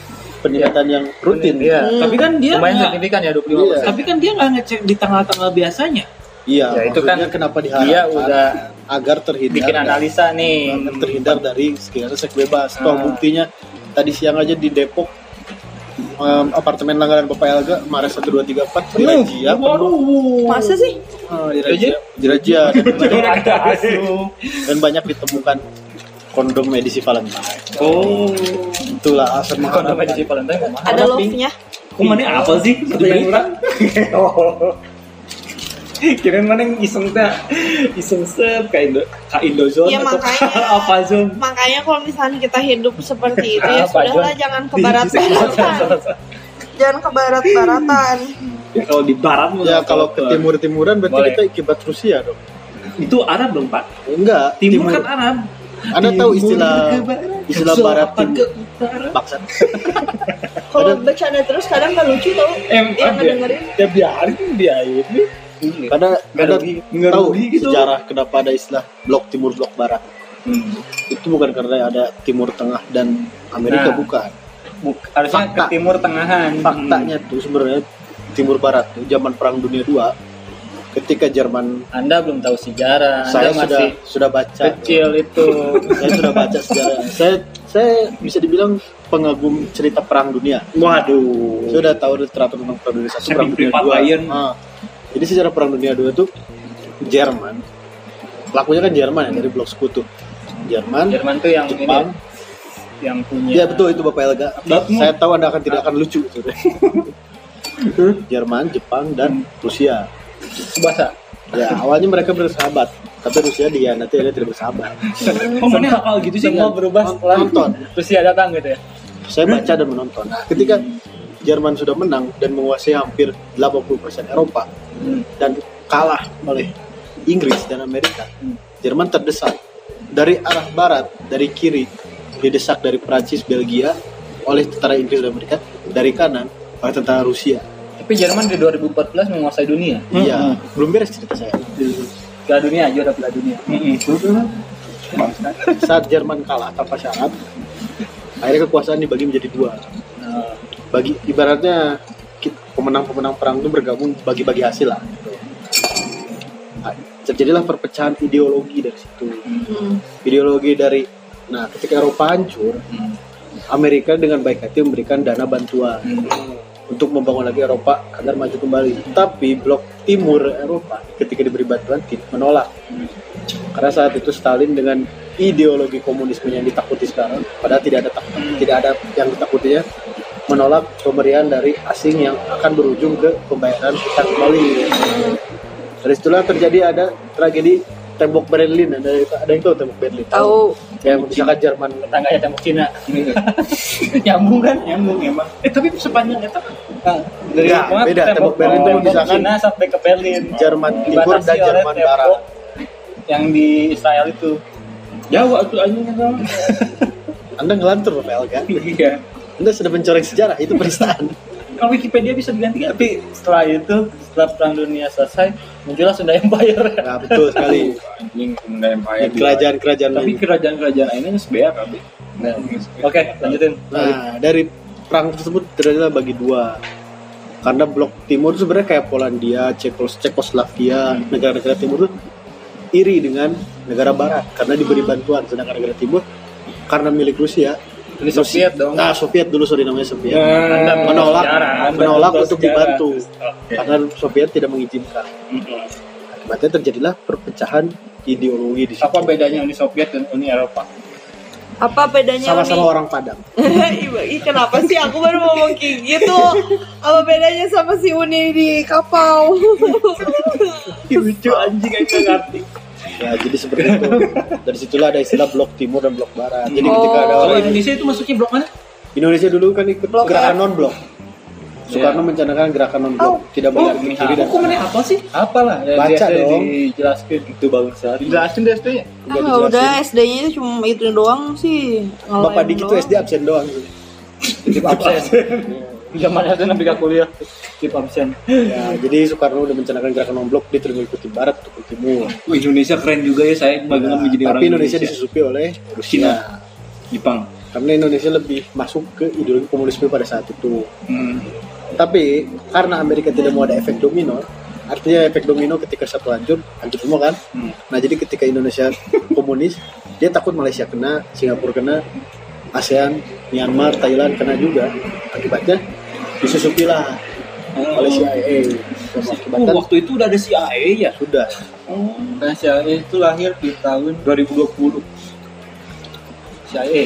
Speaker 4: peningkatan yang rutin
Speaker 2: Hmm. Iya.
Speaker 1: tapi kan dia
Speaker 2: Lumayan
Speaker 1: nggak-
Speaker 2: signifikan ya 25
Speaker 4: Iya.
Speaker 1: tapi kan dia nggak ngecek di tanggal-tanggal biasanya.
Speaker 4: Iya,
Speaker 2: Ya, itu kan
Speaker 4: maksudnya kenapa diharapkan
Speaker 2: Dia udah
Speaker 4: agar terhindar
Speaker 2: bikin
Speaker 4: dari-
Speaker 2: analisa nih.
Speaker 4: agar terhindar dari sekitar seks bebas. Toh
Speaker 2: Ah.
Speaker 4: buktinya tadi siang aja di Depok em, apartemen langganan Bapak Elga Maret 1234 dirajia
Speaker 1: Ya,
Speaker 4: penuh.
Speaker 3: Masa sih?
Speaker 4: Eh, dirajia, dirajia dan, banyak,
Speaker 2: Ada asu.
Speaker 4: dan banyak ditemukan kondom edisi Valentine.
Speaker 1: Oh.
Speaker 4: Itulah asal
Speaker 2: Kondom edisi
Speaker 4: mengharapkan.
Speaker 2: Valentine nggak mahal.
Speaker 3: Ada love-nya.
Speaker 1: Kok mana apa sih? [laughs]
Speaker 2: Dibeli orang. Kirain mana yang iseng teh iseng set kayak Indo ka Indozone
Speaker 3: Iya,
Speaker 2: atau
Speaker 3: makanya.
Speaker 2: ka
Speaker 1: [laughs]
Speaker 2: apa zone.
Speaker 3: Makanya kalau misalnya kita hidup
Speaker 2: [laughs]
Speaker 3: seperti itu ya
Speaker 2: Apa,
Speaker 3: sudahlah
Speaker 2: John?
Speaker 3: jangan ke
Speaker 2: [laughs]
Speaker 3: barat-baratan. Jangan ke barat-baratan.
Speaker 1: Ya, kalau di barat mah
Speaker 4: Ya
Speaker 1: nggak
Speaker 4: kalau ke
Speaker 1: apa-apa.
Speaker 4: timur-timuran berarti
Speaker 2: Boleh.
Speaker 4: kita akibat Rusia dong.
Speaker 1: itu Arab dong, Pak.
Speaker 4: Enggak,
Speaker 1: Timur, kan Arab.
Speaker 4: Anda tahu istilah istilah barat timur Bangsat.
Speaker 3: Kalau bercanda terus kadang nggak lucu tau.
Speaker 2: Eh,
Speaker 3: Yang ngedengerin.
Speaker 2: ya biarin dia ini.
Speaker 4: Karena
Speaker 2: Nggak
Speaker 4: Anda
Speaker 2: rugi- nggak
Speaker 4: tahu
Speaker 2: rugi gitu.
Speaker 4: sejarah kenapa ada istilah blok timur blok barat. Itu bukan karena ada timur tengah dan Amerika
Speaker 2: Nah.
Speaker 4: bukan.
Speaker 2: Buk- harusnya
Speaker 4: Fakta.
Speaker 2: ke timur tengahan.
Speaker 4: Faktanya
Speaker 2: Hmm.
Speaker 4: tuh sebenarnya timur barat tuh zaman perang dunia 2 ketika Jerman
Speaker 2: Hmm. Anda belum tahu sejarah.
Speaker 4: saya
Speaker 2: Anda
Speaker 4: sudah
Speaker 2: masih
Speaker 4: sudah baca
Speaker 2: Nah, kecil itu.
Speaker 4: saya sudah baca sejarah saya saya bisa dibilang pengagum cerita perang dunia
Speaker 1: Waduh.
Speaker 4: Saya udah tahu literatur tentang Perang Dunia Satu,
Speaker 1: Saya
Speaker 4: Perang
Speaker 1: di
Speaker 4: Dunia
Speaker 1: Privat
Speaker 4: Dua.
Speaker 1: Lion.
Speaker 4: Ah. Jadi sejarah Perang Dunia Dua tuh Jerman. Lakunya kan Jerman ya dari blok sekutu. Jerman,
Speaker 2: Jerman tuh yang ini,
Speaker 4: Jepang.
Speaker 2: yang punya.
Speaker 4: Ya betul itu Bapak Elga.
Speaker 2: Bapak-
Speaker 4: Saya tahu Anda akan tidak akan lucu gitu. Jerman, Jepang dan Rusia.
Speaker 2: [laughs] Bahasa.
Speaker 4: Ya awalnya mereka bersahabat, tapi Rusia dia nanti dia tidak bersahabat.
Speaker 1: Kok mana hafal gitu sih?
Speaker 2: Semua berubah setelah
Speaker 4: Nonton.
Speaker 2: Rusia datang gitu ya.
Speaker 4: Saya baca dan menonton. Ketika Jerman sudah menang dan menguasai hampir 80% Eropa, dan kalah oleh Inggris dan Amerika. Jerman terdesak dari arah barat, dari kiri, didesak dari Prancis, Belgia oleh tentara Inggris dan Amerika, dari kanan oleh tentara Rusia.
Speaker 2: Tapi Jerman di 2014 menguasai dunia.
Speaker 4: Iya, belum beres cerita saya.
Speaker 2: Piala dunia aja udah piala dunia.
Speaker 4: Saat Jerman kalah tanpa syarat, akhirnya kekuasaan dibagi menjadi dua.
Speaker 2: Nah,
Speaker 4: Bagi ibaratnya ki- pemenang-pemenang perang itu bergabung bagi-bagi hasil lah. gitu. Nah, Terjadilah perpecahan ideologi dari situ.
Speaker 3: Hmm.
Speaker 4: ideologi dari nah ketika Eropa hancur Amerika dengan baik hati memberikan dana bantuan untuk membangun lagi Eropa agar maju kembali tapi blok timur Eropa ketika diberi bantuan tidak menolak karena saat itu Stalin dengan ideologi komunisme yang ditakuti sekarang padahal tidak ada tak- tidak ada yang ditakutinya menolak pemberian dari asing yang akan berujung ke pembayaran hutang kembali dari situlah terjadi ada tragedi tembok Berlin ada ada yang tahu tembok Berlin
Speaker 3: Tahu.
Speaker 4: ya misalkan Jerman
Speaker 2: tetangganya tembok
Speaker 4: [laughs]
Speaker 2: Cina. Nyambung kan? Nyambung emang.
Speaker 1: Eh tapi sepanjang itu
Speaker 2: Nah, dari
Speaker 4: Enggak,
Speaker 2: Jepang,
Speaker 4: ya, beda. Tembok Berlin tuh misalkan
Speaker 2: Cina sampai ke Berlin.
Speaker 4: Jerman Timur dan
Speaker 2: Dibatasi oleh
Speaker 4: Jerman
Speaker 2: tembok
Speaker 4: Barat
Speaker 2: Yang di Israel itu.
Speaker 1: Jawa tuh anjingnya sama.
Speaker 4: Anda ngelantur Pak Elga
Speaker 2: [laughs] Iya.
Speaker 4: Anda sudah mencoreng sejarah, itu penistaan.
Speaker 2: Kalau Wikipedia bisa diganti tapi setelah itu setelah perang dunia selesai muncullah Sunda Empire.
Speaker 4: Nah, betul sekali.
Speaker 5: Anjing Sunda Empire.
Speaker 4: Dan kerajaan-kerajaan
Speaker 2: tapi
Speaker 4: lain.
Speaker 2: kerajaan-kerajaan ini
Speaker 5: ini sebenarnya tapi.
Speaker 2: Nah, Oke, lanjutin.
Speaker 4: Nah, dari perang tersebut terjadilah bagi dua. Karena blok timur itu sebenarnya kayak Polandia, Cekos, Cekoslovakia,
Speaker 2: Hmm.
Speaker 4: negara-negara timur itu iri dengan negara barat karena diberi
Speaker 2: Hmm.
Speaker 4: bantuan sedangkan negara timur karena milik Rusia
Speaker 2: Ini Soviet dong. Ya.
Speaker 4: Nah, Soviet dulu sorry namanya Soviet.
Speaker 2: Anda
Speaker 4: menolak
Speaker 2: sejarah, Anda
Speaker 4: menolak
Speaker 2: betul
Speaker 4: untuk
Speaker 2: sejarah.
Speaker 4: dibantu
Speaker 2: Oke.
Speaker 4: karena Soviet tidak mengizinkan. Akibatnya terjadilah perpecahan ideologi di situ.
Speaker 2: Apa bedanya Uni Soviet dan Uni Eropa?
Speaker 3: Apa bedanya
Speaker 4: Sama-sama
Speaker 3: Uni- [laughs]
Speaker 4: orang Padang.
Speaker 3: Ibu, ih, kenapa sih aku baru ngomong kayak
Speaker 2: [laughs]
Speaker 3: gitu? Apa bedanya sama si Uni di [laughs] Kapau?
Speaker 2: Lucu anjing aku ngerti.
Speaker 4: Ya, jadi seperti itu. Dari situlah ada istilah blok timur dan blok barat. Jadi
Speaker 3: Oh.
Speaker 4: ketika ada
Speaker 2: Kalau
Speaker 4: orang
Speaker 2: Indonesia itu masuknya blok mana?
Speaker 4: Indonesia dulu kan ikut
Speaker 3: Blok
Speaker 4: gerakan
Speaker 3: F.
Speaker 4: non blok. Soekarno mencanangkan gerakan non blok,
Speaker 3: Oh.
Speaker 4: tidak banyak
Speaker 2: ini
Speaker 4: kiri dan
Speaker 2: hukumannya apa sih? Apalah, ya,
Speaker 4: Baca
Speaker 2: biasanya
Speaker 4: dong.
Speaker 2: Dijelaskan.
Speaker 4: itu bagus sekali.
Speaker 5: Dijelasin deh SD-nya.
Speaker 4: Udah
Speaker 3: Ah,
Speaker 4: dijelasin.
Speaker 3: udah SD-nya itu cuma itu doang sih. ngalahin
Speaker 4: Bapak Diki tuh
Speaker 3: doang.
Speaker 4: SD absen doang.
Speaker 2: Titip absen. Zaman itu nabi gak kuliah. Titip absen.
Speaker 4: Ya, jadi Soekarno udah mencanangkan gerakan non blok, dia terus mengikuti barat untuk ke timur.
Speaker 5: Wih, Indonesia keren juga ya saya bagaimana
Speaker 4: Nah,
Speaker 5: menjadi orang
Speaker 4: tapi Indonesia, disusupi oleh
Speaker 5: Cina,
Speaker 4: Rusia.
Speaker 5: Jepang.
Speaker 4: Karena Indonesia lebih masuk ke ideologi komunisme pada saat itu.
Speaker 5: Hmm.
Speaker 4: Tapi karena Amerika tidak mau ada efek domino, artinya efek domino ketika satu hancur, hancur semua kan.
Speaker 5: Hmm.
Speaker 4: Nah jadi ketika
Speaker 5: [laughs]
Speaker 4: Indonesia komunis, dia takut Malaysia kena, Singapura kena, ASEAN, Myanmar, Thailand kena juga. Akibatnya disusupilah oleh CIA.
Speaker 5: Oh,
Speaker 4: Akibatnya
Speaker 5: waktu itu udah ada CIA ya?
Speaker 4: sudah.
Speaker 2: Nah, CIA itu lahir di tahun
Speaker 5: 2020.
Speaker 2: CIA.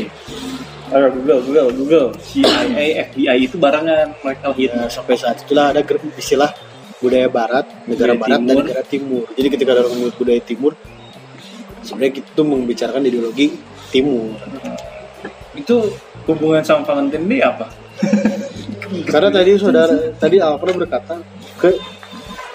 Speaker 5: Ah, Google, Google, Google.
Speaker 2: [clears throat]
Speaker 5: CIA, FBI itu barengan mereka lahir.
Speaker 2: Nah.
Speaker 4: Ya, sampai saat itulah ada ger- istilah budaya barat, negara
Speaker 5: Budaya
Speaker 4: barat dan
Speaker 5: timur.
Speaker 4: negara timur. Jadi ketika ada orang menyebut budaya timur, sebenarnya kita tuh membicarakan ideologi timur.
Speaker 5: Itu hubungan sama Valentine Day apa?
Speaker 4: Karena tadi saudara tadi Alfred berkata ke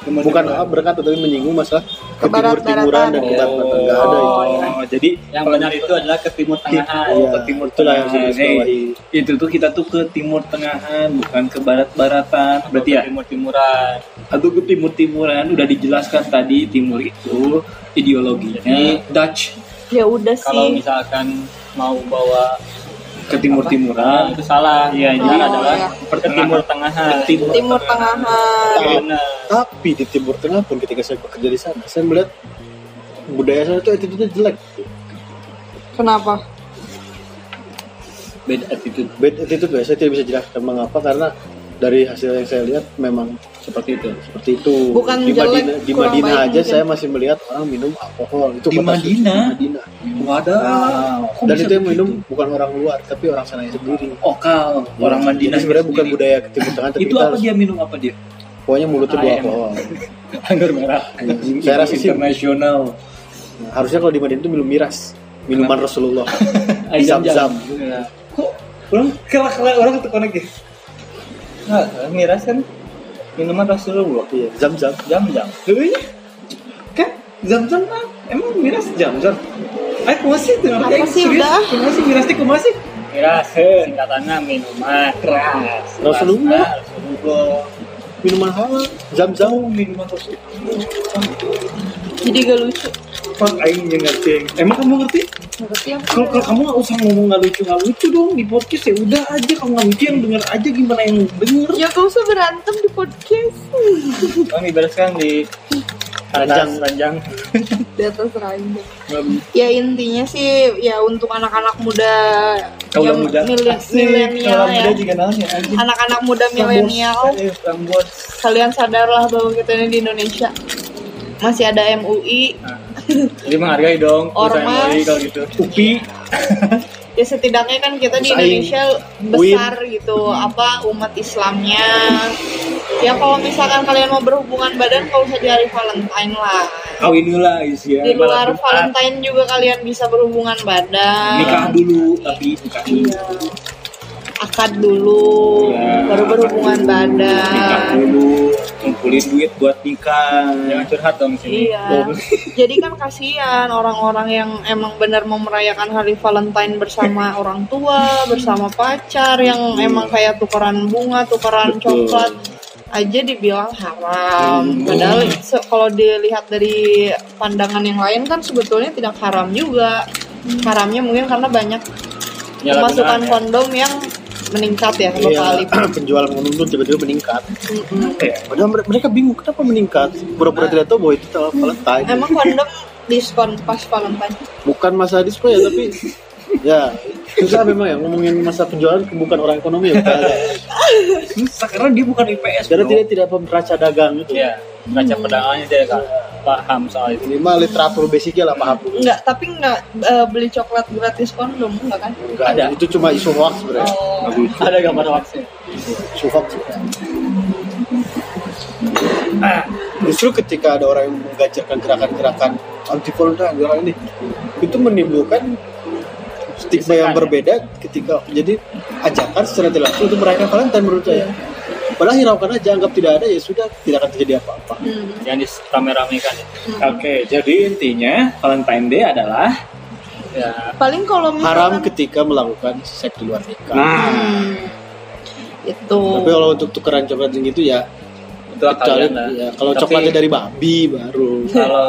Speaker 4: bukan Al berkata tapi menyinggung masalah ke timur timuran dan ke barat barat nggak ada itu.
Speaker 5: Oh, jadi
Speaker 2: Yang benar itu adalah ke timur tengah.
Speaker 4: Iya,
Speaker 5: ke timur
Speaker 4: itulah yang
Speaker 5: tengah. Iya.
Speaker 4: harus dibawahi.
Speaker 5: Nah, Hey, itu tuh kita tuh ke timur tengahan, bukan ke barat-baratan. Berarti ya,
Speaker 2: Timur timuran.
Speaker 5: atau ke timur timuran udah dijelaskan tadi timur itu ideologinya Dutch
Speaker 3: Ya udah
Speaker 2: Kalau
Speaker 3: sih.
Speaker 2: misalkan mau bawa
Speaker 5: ke timur
Speaker 2: Nah,
Speaker 5: timuran.
Speaker 2: itu salah.
Speaker 5: Iya,
Speaker 2: Yang
Speaker 5: jadi
Speaker 2: benar adalah
Speaker 3: iya.
Speaker 2: ke timur tengahan.
Speaker 5: Timur.
Speaker 3: Timur Tengahan.
Speaker 4: Tapi-
Speaker 2: Benar.
Speaker 4: Tapi di timur tengah pun ketika saya bekerja di sana, saya melihat budaya sana itu attitude jelek,
Speaker 3: Kenapa?
Speaker 5: Beda attitude
Speaker 4: bad attitude. Saya tidak bisa jelaskan mengapa karena dari hasil yang saya lihat memang
Speaker 5: seperti itu.
Speaker 4: seperti itu.
Speaker 3: Bukan
Speaker 4: di
Speaker 3: jelek,
Speaker 4: Madinah, di
Speaker 3: kurang
Speaker 4: Madinah
Speaker 3: baik
Speaker 4: aja
Speaker 3: mungkin.
Speaker 4: saya masih melihat orang minum alkohol itu
Speaker 5: Di
Speaker 4: kota suci,
Speaker 5: Madinah?
Speaker 4: di Madinah.
Speaker 5: Wadah. kok
Speaker 4: Dan
Speaker 5: bisa
Speaker 4: itu yang
Speaker 5: begitu?
Speaker 4: minum bukan orang luar tapi orang sana sendiri.
Speaker 5: Okal, orang
Speaker 2: Iya,
Speaker 5: Madinah
Speaker 4: Jadi sebenarnya bukan
Speaker 5: sendiri.
Speaker 4: budaya timur tengah tapi
Speaker 5: Itu
Speaker 4: kita
Speaker 5: apa
Speaker 4: harus-
Speaker 5: dia Ah, iya. minum apa
Speaker 2: [laughs]
Speaker 5: dia?
Speaker 4: pokoknya mulut itu
Speaker 5: Ayam.
Speaker 4: alkohol.
Speaker 5: Anggur merah.
Speaker 4: Saya rasa sih-
Speaker 5: internasional.
Speaker 4: Nah, harusnya kalau di Madinah itu minum miras, minuman
Speaker 5: [laughs]
Speaker 4: Rasulullah. Zam-zam.
Speaker 2: Zam-zam.
Speaker 5: Kok orang kelak kelak orang terkonek ya?
Speaker 2: Nah, miras kan minuman Rasulullah.
Speaker 4: Iya, zam-zam.
Speaker 2: Jam-jam.
Speaker 5: Hei, iya. kan jam jam kan? Emang miras jam jam. Ayo kumasi itu
Speaker 3: Apa sih, udah?
Speaker 5: Kumasi miras teh kumasi.
Speaker 2: Miras, singkatannya minuman keras.
Speaker 4: Rasulullah.
Speaker 2: Rasulullah.
Speaker 4: Minuman halal, zam-zam.
Speaker 5: Oh minuman terus.
Speaker 3: Jadi gak lucu.
Speaker 5: Pak Aing yang ngerti. Emang kamu ngerti?
Speaker 3: Ngerti apa?
Speaker 5: Kalau kalau kamu nggak usah ngomong nggak lucu nggak lucu dong di podcast ya udah aja kalau nggak lucu yang denger aja gimana yang denger.
Speaker 3: Ya kau usah berantem di podcast. [laughs]
Speaker 2: Bang ibaratkan di
Speaker 4: Ranjang.
Speaker 2: atas ranjang.
Speaker 3: di atas ranjang. Ya intinya sih ya untuk anak-anak muda
Speaker 2: Kalau
Speaker 3: yang
Speaker 2: muda. eh,
Speaker 3: mili- milenial ya.
Speaker 2: juga namanya. anjing.
Speaker 3: Anak-anak muda milenial,
Speaker 2: Ayo, rambut.
Speaker 3: kalian sadarlah bahwa kita ini di Indonesia masih ada MUI.
Speaker 2: Jadi menghargai dong.
Speaker 3: Ormas.
Speaker 2: perusahaan MUI kalau gitu.
Speaker 5: Upi
Speaker 3: Ya setidaknya kan kita di
Speaker 4: Terus aing,
Speaker 3: Indonesia besar gitu, apa umat Islamnya. Ya kalau misalkan kalian mau berhubungan badan kalau usah di hari Valentine lah.
Speaker 5: kawin dulu lah isi ya.
Speaker 3: Di luar
Speaker 5: Malam Jumat.
Speaker 3: Valentine juga kalian bisa berhubungan
Speaker 2: Ah,
Speaker 3: badan.
Speaker 5: nikah dulu tapi nikah dulu.
Speaker 3: Iya. akad dulu
Speaker 5: Iya,
Speaker 3: baru berhubungan
Speaker 5: nikah
Speaker 3: badan
Speaker 5: dulu
Speaker 1: ngumpulin duit buat nikah
Speaker 2: Jangan curhat dong sini.
Speaker 3: Iya. Jadi kan kasihan orang-orang yang emang benar mau merayakan hari Valentine bersama orang tua, bersama pacar yang emang kayak tukeran bunga, tukeran
Speaker 1: Betul.
Speaker 3: coklat aja dibilang haram. Padahal se- kalau dilihat dari pandangan yang lain kan sebetulnya tidak haram juga. Haramnya mungkin karena banyak
Speaker 2: Penyalahgunaan
Speaker 3: pemasukan
Speaker 2: ya.
Speaker 3: kondom yang meningkat ya
Speaker 4: Iya,
Speaker 3: beberapa kali.
Speaker 4: penjualan kondom tiba-tiba meningkat. Iya.
Speaker 3: Mm-mm.
Speaker 4: Padahal mere- mereka bingung kenapa meningkat. Pura-pura tidak tahu bahwa itu telah Valentine.
Speaker 3: Emang kondom diskon pas Valentine?
Speaker 4: Bukan masalah display ya, tapi ya susah memang ya ngomongin masa penjualan bukan orang ekonomi ya. bukan.
Speaker 1: susah karena dia bukan IPS
Speaker 4: Karena
Speaker 1: bro.
Speaker 4: tidak tidak pemeraca dagang gitu
Speaker 2: Iya.
Speaker 4: ya. itu.
Speaker 2: Raca pedagangannya dia kan paham soal itu.
Speaker 4: Minimal literatur basicnya lah paham.
Speaker 3: Enggak, tapi enggak eh, beli coklat gratis kondom, enggak kan?
Speaker 4: Enggak,
Speaker 2: Ada.
Speaker 4: Itu cuma isu hoax sebenarnya.
Speaker 3: Oh,
Speaker 2: Ada gambar vaksin.
Speaker 4: Isu hoax. Justru ketika ada orang yang menggajarkan gerakan-gerakan anti Valentine gerakan ini, itu menimbulkan stigma
Speaker 2: ya?
Speaker 4: yang berbeda ketika jadi ajakan secara tidak langsung untuk merayakan Valentine menurut
Speaker 2: Iya.
Speaker 4: saya. Padahal hiraukan aja, anggap tidak ada ya sudah, tidak akan terjadi apa-apa.
Speaker 3: hmm.
Speaker 2: Jangan diramai-ramekan. ya.
Speaker 5: Hmm.
Speaker 1: Oke, jadi intinya Valentine Day adalah
Speaker 2: Ya.
Speaker 3: Paling kalau
Speaker 4: Haram
Speaker 3: misalkan
Speaker 4: ketika melakukan seks di luar nikah.
Speaker 1: nah
Speaker 3: Hmm. itu
Speaker 4: Tapi kalau untuk tukeran coklat gitu ya,
Speaker 2: Itu Oh. kalian
Speaker 4: kecuali
Speaker 2: lah.
Speaker 4: ya, kalau
Speaker 2: Tapi-
Speaker 4: coklatnya dari babi baru.
Speaker 2: kalau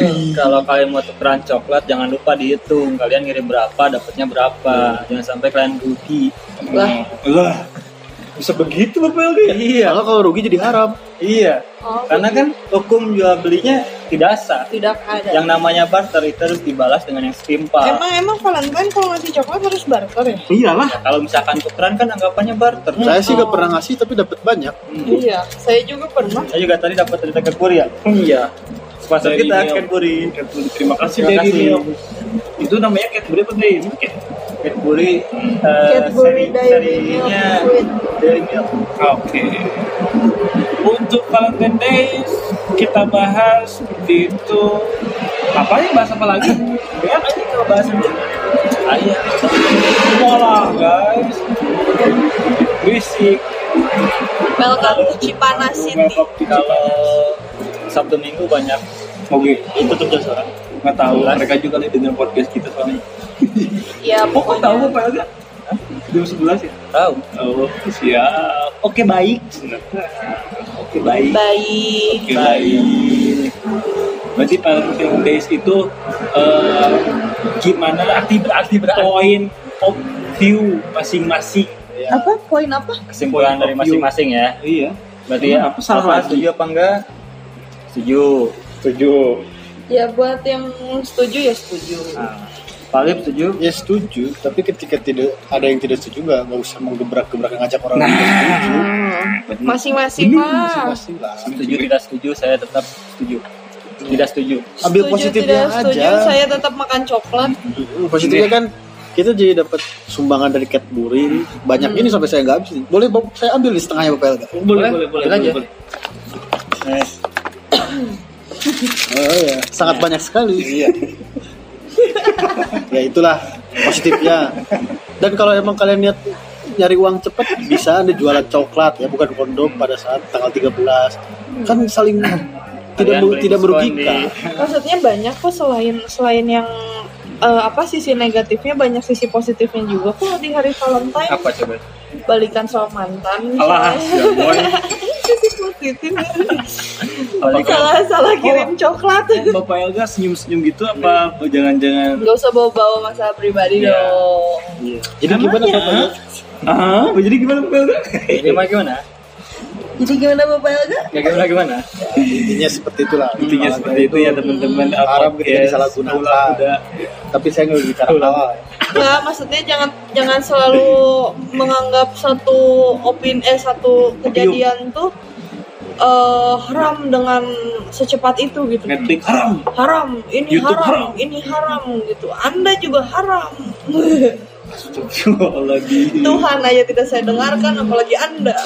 Speaker 2: itu kalau kalian mau tukeran coklat jangan lupa dihitung kalian ngirim berapa dapatnya berapa
Speaker 4: Iya.
Speaker 2: jangan sampai kalian rugi
Speaker 3: lah.
Speaker 1: lah
Speaker 2: bisa begitu bapak iya
Speaker 4: Kalau kalau rugi jadi haram.
Speaker 2: iya
Speaker 3: Oh,
Speaker 2: karena kan hukum jual belinya tidak sah
Speaker 3: tidak ada.
Speaker 2: yang namanya barter itu harus dibalas dengan yang setimpal
Speaker 3: Emang emang Valentine kalau ngasih coklat harus barter ya?
Speaker 1: iyalah
Speaker 2: Ya, kalau misalkan tukeran kan anggapannya barter
Speaker 4: Saya sih gak pernah ngasih tapi dapat banyak.
Speaker 3: Iya, saya juga pernah.
Speaker 2: saya juga tadi dapat cerita keburi ya iya sponsor
Speaker 1: Dari
Speaker 2: kita
Speaker 1: Mio.
Speaker 2: keburi
Speaker 1: terima kasih
Speaker 2: Terima
Speaker 1: Daddy
Speaker 2: kasih.
Speaker 1: Milk. itu namanya Cadbury apa Day Milk ya?
Speaker 2: keburi Eh,
Speaker 3: Cadbury Dairy Milk with
Speaker 2: dari milk
Speaker 1: oke untuk Valentine Day kita bahas seperti itu apa ya bahas apa lagi banyak aja kalau bahas ini ayah sekolah guys berisik
Speaker 3: Welcome to Cipana City.
Speaker 1: Bangkok di Jepang.
Speaker 2: kalau Sabtu Minggu banyak
Speaker 1: oke
Speaker 2: itu tuh orang
Speaker 1: nggak tahu mereka juga lagi dengar podcast kita soalnya
Speaker 3: Ya,
Speaker 1: oh kok
Speaker 3: pokoknya.
Speaker 1: tahu apa ya jam 11 ya
Speaker 2: tahu
Speaker 1: Oh, siap. Oke, baik. Oke, baik.
Speaker 3: Baik.
Speaker 1: Oke, baik. Berarti Valentine Days itu eh, gimana arti arti poin of view masing-masing.
Speaker 3: Apa poin apa?
Speaker 2: kesimpulan dari masing-masing ya
Speaker 1: Iya.
Speaker 2: berarti ya,
Speaker 1: Hmm,
Speaker 2: apa
Speaker 1: apa salah lagi?
Speaker 2: setuju apa enggak setuju
Speaker 1: Setuju.
Speaker 3: Ya buat yang setuju ya setuju.
Speaker 2: nah, Palip setuju
Speaker 4: Ya setuju, tapi ketika tidak ada yang tidak setuju nggak nggak usah menggebrak-gebrak ngajak orang
Speaker 3: Nah.
Speaker 4: lain tidak setuju.
Speaker 3: Masing-masing lah.
Speaker 4: Masing-masing lah.
Speaker 2: setuju tidak setuju saya tetap setuju tidak setuju
Speaker 4: Ambil
Speaker 3: Setuju,
Speaker 4: positifnya
Speaker 3: tidak setuju,
Speaker 4: aja.
Speaker 3: saya tetap makan coklat.
Speaker 4: Hmm, Positifnya kan kita jadi dapat sumbangan dari Cadbury banyak
Speaker 3: Hmm.
Speaker 4: ini sampai saya nggak habis. nih. Boleh Bob, saya ambil di setengahnya Bapak Elga.
Speaker 1: Boleh, boleh, boleh, boleh,
Speaker 2: aja.
Speaker 1: boleh.
Speaker 2: Eh,
Speaker 4: Oh, iya. Sangat banyak sekali. Iya. [laughs] ya itulah positifnya. Dan kalau emang kalian niat nyari uang cepat bisa anda jualan coklat ya bukan kondom pada saat tanggal 13 kan saling
Speaker 2: kalian
Speaker 4: tidak meru-
Speaker 2: beli
Speaker 4: tidak
Speaker 2: diskon
Speaker 4: merugikan
Speaker 2: di-
Speaker 3: Maksudnya banyak kok selain selain yang eh, apa sisi negatifnya banyak sisi positifnya juga kok di hari Valentine
Speaker 2: apa coba
Speaker 3: balikan sama mantan
Speaker 1: Alah, ya boy.
Speaker 3: sisi
Speaker 1: [laughs]
Speaker 3: positif
Speaker 2: Kalau
Speaker 3: salah salah
Speaker 1: Oh.
Speaker 3: kirim coklat
Speaker 1: Bapak Elga senyum-senyum gitu apa jangan-jangan
Speaker 3: nggak usah bawa bawa masalah pribadi
Speaker 1: Iya.
Speaker 3: dong
Speaker 4: jadi gimana Bapak Elga?
Speaker 1: Ah, jadi gimana Bapak Elga?
Speaker 2: ini mah gimana
Speaker 3: jadi gimana bapak Elga
Speaker 2: ya gimana gimana
Speaker 4: intinya seperti itulah
Speaker 1: Intinya
Speaker 4: Olahraga
Speaker 1: seperti Iya, itu ya teman-teman.
Speaker 4: Haram gitu ya, ketika
Speaker 1: Podcast,
Speaker 4: disalahgunakan.
Speaker 1: Ulah Muda.
Speaker 4: tapi saya nggak bicara halal
Speaker 3: nggak maksudnya jangan jangan selalu menganggap satu opin eh satu kejadian tuh eh haram dengan secepat itu gitu
Speaker 1: Netflix haram.
Speaker 3: haram ini
Speaker 1: YouTube
Speaker 3: haram,
Speaker 1: haram.
Speaker 3: ini haram gitu anda juga haram
Speaker 1: lagi.
Speaker 3: Tuhan aja tidak saya dengarkan apalagi anda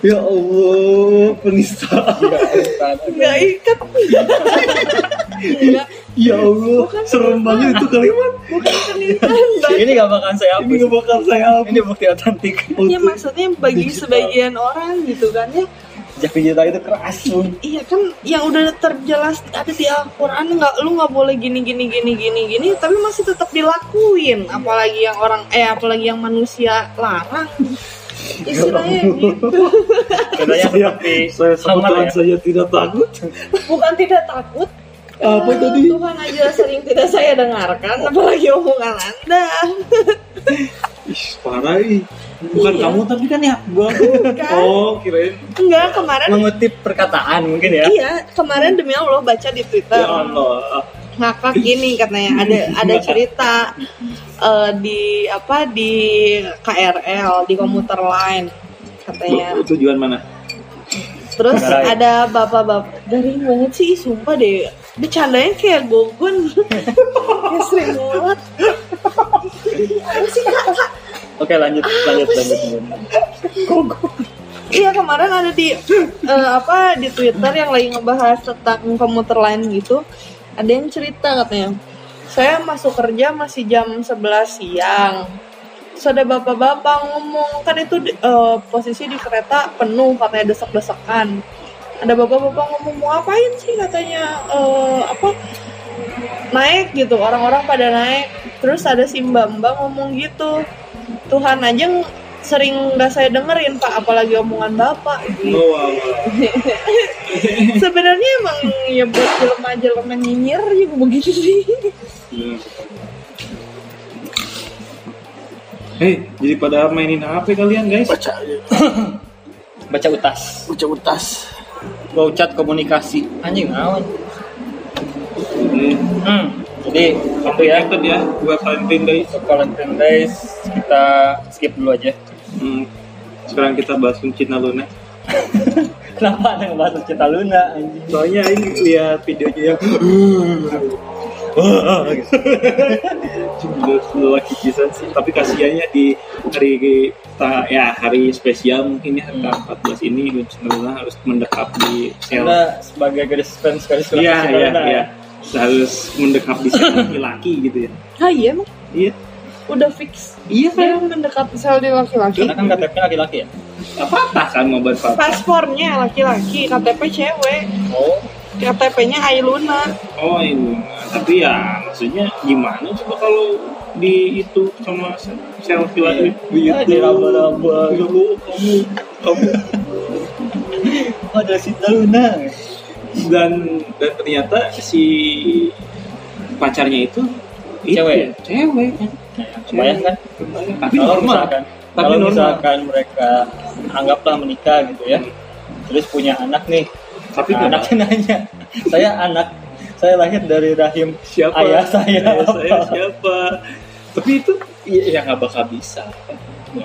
Speaker 1: Ya Allah, penistaan.
Speaker 3: nggak ikat Nggak.
Speaker 4: Ya Allah,
Speaker 3: Bukan
Speaker 4: serem banget itu kalimat.
Speaker 3: bukan pernikahan Mbak.
Speaker 2: Ini gak bakal saya
Speaker 4: Ini
Speaker 2: hapus.
Speaker 4: gak bakal saya hapus.
Speaker 2: Ini bukti otentik.
Speaker 3: ya maksudnya bagi sebagian orang gitu kan ya
Speaker 4: Jaki cinta itu keras. Bun.
Speaker 3: iya kan yang udah terjelas ada di Al-Quran nggak lu nggak boleh gini gini gini gini gini tapi masih tetap dilakuin apalagi yang orang eh apalagi yang manusia larang istilahnya gitu
Speaker 2: Contohnya seperti
Speaker 4: Saya sama
Speaker 2: Hamar
Speaker 4: Tuhan
Speaker 2: ya.
Speaker 4: saya tidak takut.
Speaker 3: bukan tidak takut
Speaker 4: Apa
Speaker 3: eh,
Speaker 4: tadi? Oh.
Speaker 3: Tuhan aja sering tidak saya dengarkan apalagi omongan anda
Speaker 4: Ih, parah ih. Bukan
Speaker 3: Iya.
Speaker 4: kamu tapi kan ya gua.
Speaker 3: Bukan.
Speaker 4: Oh, kirain.
Speaker 3: enggak kemarin
Speaker 2: mengutip perkataan mungkin ya.
Speaker 3: iya kemarin demi Allah baca di Twitter
Speaker 4: Ya Allah.
Speaker 3: ngakak gini katanya ada ada cerita eh, di apa di KRL di komuter lain katanya
Speaker 1: Tujuan mana?
Speaker 3: terus
Speaker 2: Negara ya?
Speaker 3: ada bapak-bapak garing banget sih sumpah deh bercandanya kayak gogun [laughs] kayak sering banget Apa sih, Kak? Kak?
Speaker 2: Oke lanjut lanjut lanjut.
Speaker 3: Iya kemarin ada di eh, apa di Twitter yang lagi ngebahas tentang komuter lain gitu. Ada yang cerita katanya. Saya masuk kerja masih jam 11 siang. Terus ada bapak-bapak ngomong kan itu di- eh, posisi di kereta penuh katanya desek-desekan. Ada bapak-bapak ngomong mau ngapain sih katanya eh, apa naik gitu orang-orang pada naik terus ada si mbak mbak ngomong gitu Tuhan aja ng- sering nggak saya dengerin pak apalagi omongan bapak
Speaker 1: Oh,
Speaker 3: gitu. sebenarnya emang ya buat jelema-jelema nyinyir juga begitu sih
Speaker 1: Hei, jadi pada mainin HP kalian guys.
Speaker 6: baca
Speaker 2: Baca utas.
Speaker 6: baca utas
Speaker 2: Wow chat komunikasi. Anjing awan.
Speaker 1: Hmm.
Speaker 2: Hmm. Jadi itu ya.
Speaker 1: Connected ya, buat Valentine guys.
Speaker 2: Untuk Valentine Days kita skip dulu aja. [laughs]
Speaker 1: Hmm. Sekarang kita bahas Cina Luna.
Speaker 2: Kenapa ada yang bahas cerita Luna anjing?
Speaker 1: Soalnya ini lihat videonya yang lelaki bisa sih. Tapi kasihannya di hari kita ya hari spesial mungkin ya hari 14 ini Cina Luna harus mendekap di sel.
Speaker 2: Karena sebagai garis fans garis surat
Speaker 1: Iya,
Speaker 2: Cinta
Speaker 1: iya,
Speaker 2: Luna. ya?
Speaker 1: iya. Harus mendekap di sel laki-laki gitu ya.
Speaker 3: ah iya emang
Speaker 1: Iya.
Speaker 3: udah fix
Speaker 1: Iya,
Speaker 3: saya mendekati sel di laki-laki
Speaker 2: Karena kan KTP laki-laki ya.
Speaker 1: apa-apa kan mau buat apa?
Speaker 3: paspornya laki-laki KTP cewek
Speaker 2: Oh.
Speaker 3: KTP-nya Ailuna
Speaker 1: Oh ini, tapi ya maksudnya gimana coba kalau di itu sama se- selfie lagi
Speaker 2: Iya, diraba-raba.
Speaker 1: Lu, kamu kamu
Speaker 2: Oh, ada Cinta Luna.
Speaker 1: Iya. dan dan ternyata si pacarnya itu itu,
Speaker 2: Cewek.
Speaker 1: cewek
Speaker 2: Nah, Kebayang kan?
Speaker 1: tapi
Speaker 2: kalau
Speaker 1: normal
Speaker 2: misalkan
Speaker 1: Tapi
Speaker 2: kalau
Speaker 1: normal.
Speaker 2: misalkan mereka anggaplah menikah gitu ya terus punya anak nih
Speaker 1: tapi
Speaker 2: nah,
Speaker 1: normal.
Speaker 2: anaknya nanya saya anak saya lahir dari rahim
Speaker 1: siapa
Speaker 2: ayah saya,
Speaker 1: Ayah
Speaker 2: apa?"
Speaker 1: saya siapa tapi itu ya ya nggak bakal bisa
Speaker 2: Ya.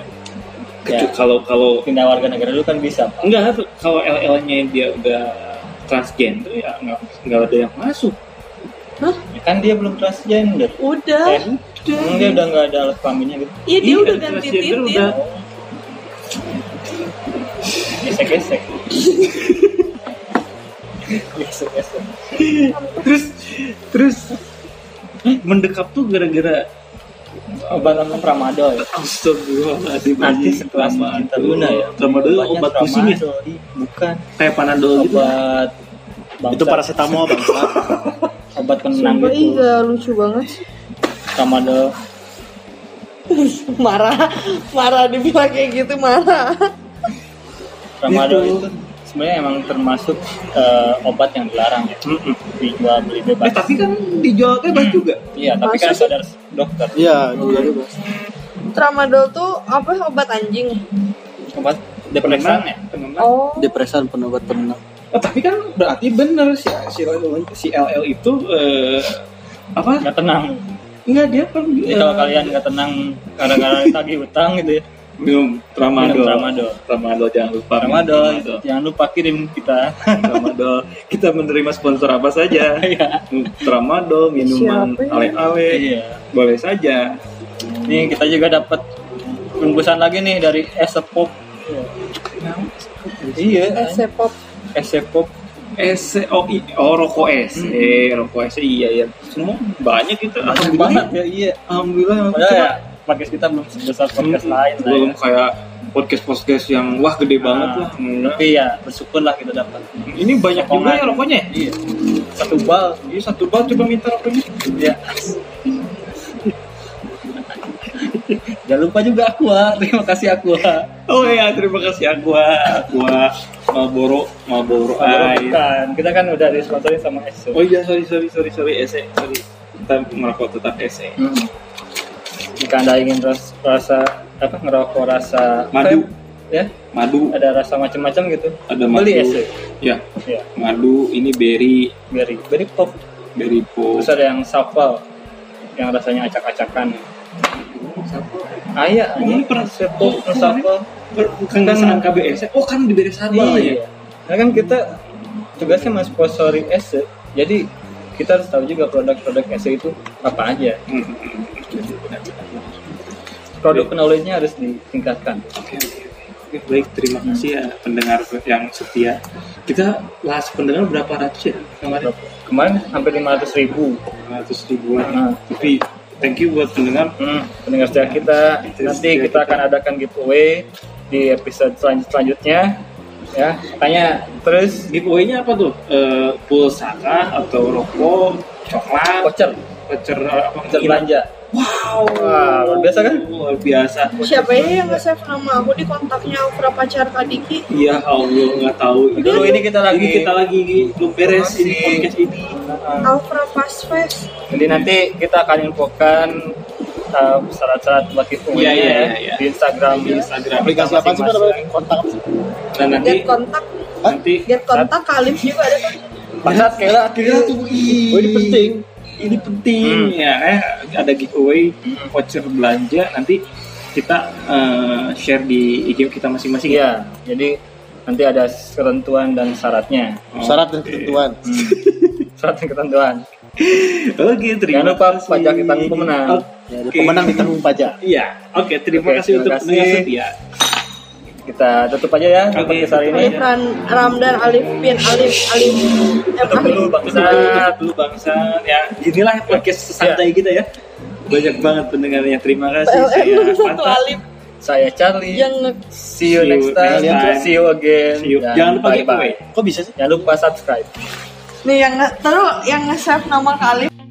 Speaker 1: Kecu- kalau kalau
Speaker 2: pindah warga negara dulu kan bisa Pak.
Speaker 1: Enggak, kalau LL-nya dia udah transgender ya nggak nggak ada yang masuk.
Speaker 2: kan dia belum transgender
Speaker 3: udah
Speaker 2: Eh, emang dia udah nggak ada alat kelaminnya gitu
Speaker 3: Iya dia
Speaker 1: Iya,
Speaker 3: udah ganti
Speaker 1: transgender
Speaker 3: titik
Speaker 1: udah.
Speaker 2: gesek gesek gesek gesek
Speaker 1: Terus terus eh, mendekap tuh gara-gara
Speaker 2: obat anak ramadol ya
Speaker 1: Astagfirullahaladzim
Speaker 2: nanti setelah cinta luna ya
Speaker 1: Sama dulu
Speaker 2: obatnya
Speaker 1: obat pusing ya
Speaker 2: tramadol. Ih, bukan
Speaker 1: Kayak panadol gitu
Speaker 2: obat
Speaker 4: Itu
Speaker 2: bangsa.
Speaker 4: paracetamol bang.
Speaker 2: obat penenang
Speaker 3: Sumpah
Speaker 2: gitu
Speaker 3: iya lucu banget sih.
Speaker 2: tramadol
Speaker 3: Marah Marah dibilang kayak gitu marah
Speaker 2: tramadol
Speaker 1: Gitu.
Speaker 2: itu sebenarnya emang termasuk eh, obat yang dilarang ya
Speaker 1: Mm-mm.
Speaker 2: dijual beli
Speaker 1: Eh
Speaker 2: bebas
Speaker 1: tapi kan dijual bebas juga
Speaker 2: iya tapi kan
Speaker 3: Masa sih?
Speaker 2: sadar dokter
Speaker 4: Iya, juga ada bang.
Speaker 3: Tramadol tuh apa obat anjing
Speaker 2: obat depresan ya
Speaker 1: Penenang.
Speaker 3: Oh
Speaker 6: depresan penobat penenang
Speaker 1: Oh, tapi kan berarti bener si si, si LL itu eh, apa?
Speaker 2: nggak tenang
Speaker 1: Enggak dia kan
Speaker 2: jadi
Speaker 1: eh,
Speaker 2: kalau kalian nggak tenang kadang-kadang tagih utang gitu ya
Speaker 1: minum tramadol.
Speaker 2: minum tramadol
Speaker 1: Tramadol jangan lupa. minum
Speaker 2: tramadol
Speaker 1: tramadol.
Speaker 2: jangan lupa kirim
Speaker 1: [laughs]
Speaker 2: kita
Speaker 1: Tramadol. Kita menerima sponsor apa [laughs] saja.
Speaker 2: Iya.
Speaker 1: Tramadol, minuman
Speaker 3: Siapa ya?
Speaker 1: ale-ale,
Speaker 2: iya
Speaker 1: boleh saja.
Speaker 2: ini kita juga dapat bungkusan lagi nih dari Esepop iya
Speaker 3: Esepop
Speaker 2: Esepop
Speaker 1: S oh, i, oh rokok S eh rokok S iya ya semua banyak gitu
Speaker 2: Banyak
Speaker 1: alhamdulillah
Speaker 2: banget ya iya.
Speaker 1: alhamdulillah
Speaker 2: Padahal
Speaker 1: Cuma-
Speaker 2: ya podcast kita belum sebesar podcast
Speaker 1: Hmm,
Speaker 2: lain lah
Speaker 1: belum
Speaker 2: ya. Nah,
Speaker 1: kayak podcast podcast yang wah gede banget lah Alhamdulillah.
Speaker 2: Tapi ya bersyukurlah kita dapat.
Speaker 1: ini banyak juga
Speaker 2: Sokongan.
Speaker 1: ya rokoknya ya?
Speaker 2: Iya. Satu bal.
Speaker 1: Iya satu bal coba minta rokoknya
Speaker 2: Ya. Jangan lupa juga aku Terima kasih aku
Speaker 1: oh iya terima kasih aku Aqua Malboro Malboro Ice
Speaker 2: Bukan, kita kan udah disponsorin sama Esso.
Speaker 1: oh iya sorry sorry sorry sorry ese sorry kita merokok tetap ese
Speaker 2: Hmm. Jika anda ingin ras- rasa apa ngerokok rasa
Speaker 1: Madu.
Speaker 2: vape, ya
Speaker 1: madu
Speaker 2: ada rasa macam-macam gitu.
Speaker 1: ada madu
Speaker 2: Beli es ya?
Speaker 1: ya
Speaker 2: ya
Speaker 1: madu ini berry
Speaker 2: berry berry pop.
Speaker 1: berry pop
Speaker 2: Terus ada yang sapal yang rasanya acak-acakan. Ayak,
Speaker 1: ini pernah
Speaker 2: pop, sapal.
Speaker 1: Kangesan KBS. Oh kan di beres Sabah ya.
Speaker 2: Iya. Nah kan kita tugasnya mas sponsori es, ya. jadi kita harus tahu juga produk-produk es itu apa aja.
Speaker 1: Hmm. Iya.
Speaker 2: Produk knowledge-nya harus ditingkatkan.
Speaker 1: Oke, oke, oke. Baik, terima kasih ya pendengar yang setia. Kita last pendengar berapa ratus ya kemarin?
Speaker 2: Kemarin hampir 500 ribu.
Speaker 1: Ratus ribuan.
Speaker 2: Hmm.
Speaker 1: Tapi thank you buat pendengar.
Speaker 2: Hmm, pendengar setia kita. Nanti kita akan adakan giveaway di episode selan- selanjutnya. Ya, tanya terus
Speaker 1: Giveaway-nya apa tuh? Eh, pulsa kah? atau rokok, coklat,
Speaker 2: voucher,
Speaker 1: voucher apa?
Speaker 2: voucher belanja.
Speaker 1: Wow,
Speaker 2: Wah, luar biasa kan?
Speaker 1: Luar biasa.
Speaker 3: Siapa ya yang nge-save nama aku di kontaknya Aura Pacar Kadiki?
Speaker 1: Ya Allah, nggak tahu.
Speaker 2: Dulu ini kita lagi-
Speaker 1: ini kita lagi belum beres ini
Speaker 2: Masih.
Speaker 1: podcast ini.
Speaker 2: Ah.
Speaker 3: Aura Fast Fest.
Speaker 2: Jadi nanti kita akan infokan uh, syarat-syarat buat giveaway
Speaker 1: Iya, iya, iya, iya.
Speaker 2: di Instagram di
Speaker 1: Instagram.
Speaker 4: Aplikasi apa sih Pak, namanya? Kontak. apa sih?
Speaker 1: Dan nanti
Speaker 3: Get kontak.
Speaker 1: nanti
Speaker 3: Get kontak Kalim juga ada kan?
Speaker 2: Bangsat Kayla akhirnya
Speaker 4: Oh ini penting.
Speaker 1: ini penting ya eh, ada giveaway voucher belanja nanti kita eh, share di IG kita masing-masing ya.
Speaker 2: Iya, jadi nanti ada ketentuan dan syaratnya. [laughs]
Speaker 1: Oh,
Speaker 4: Syarat dan
Speaker 1: oke.
Speaker 4: ketentuan.
Speaker 2: Syarat dan ketentuan.
Speaker 1: Oke, terima
Speaker 2: Iya. Jangan lupa
Speaker 1: kasih.
Speaker 2: pajak kita pemenang.
Speaker 1: Oke.
Speaker 4: Ya, ada pemenang ditanggung pajak.
Speaker 1: Iya, oke terima
Speaker 2: Oke,
Speaker 1: kasih
Speaker 2: terima
Speaker 1: untuk
Speaker 2: kasih.
Speaker 1: pendengar setia.
Speaker 2: Kita tutup aja ya
Speaker 1: Oke,
Speaker 2: podcast hari
Speaker 1: tutup
Speaker 2: ini.
Speaker 1: aja.
Speaker 3: Ran, Ramdan Alif bin Alif Alif. M
Speaker 2: Tutup dulu
Speaker 3: Alif.
Speaker 2: bangsat.
Speaker 1: Dulu bangsa ya inilah
Speaker 2: Iya.
Speaker 1: podcast santai kita ya. Banyak banget pendengarnya. Terima kasih
Speaker 3: [laughs]
Speaker 2: ya.
Speaker 1: saya.
Speaker 3: PLN Eh, satu
Speaker 1: Fanta.
Speaker 3: Alif
Speaker 2: Saya Charlie.
Speaker 3: yang nge-
Speaker 2: See you next time.
Speaker 1: next time.
Speaker 2: See you again.
Speaker 1: See you.
Speaker 2: Dan
Speaker 1: Jangan lupa
Speaker 2: bye-bye.
Speaker 1: giveaway.
Speaker 4: Kok bisa sih?
Speaker 2: Jangan lupa subscribe.
Speaker 3: nih yang nge- terus yang nge-save nama Kalim.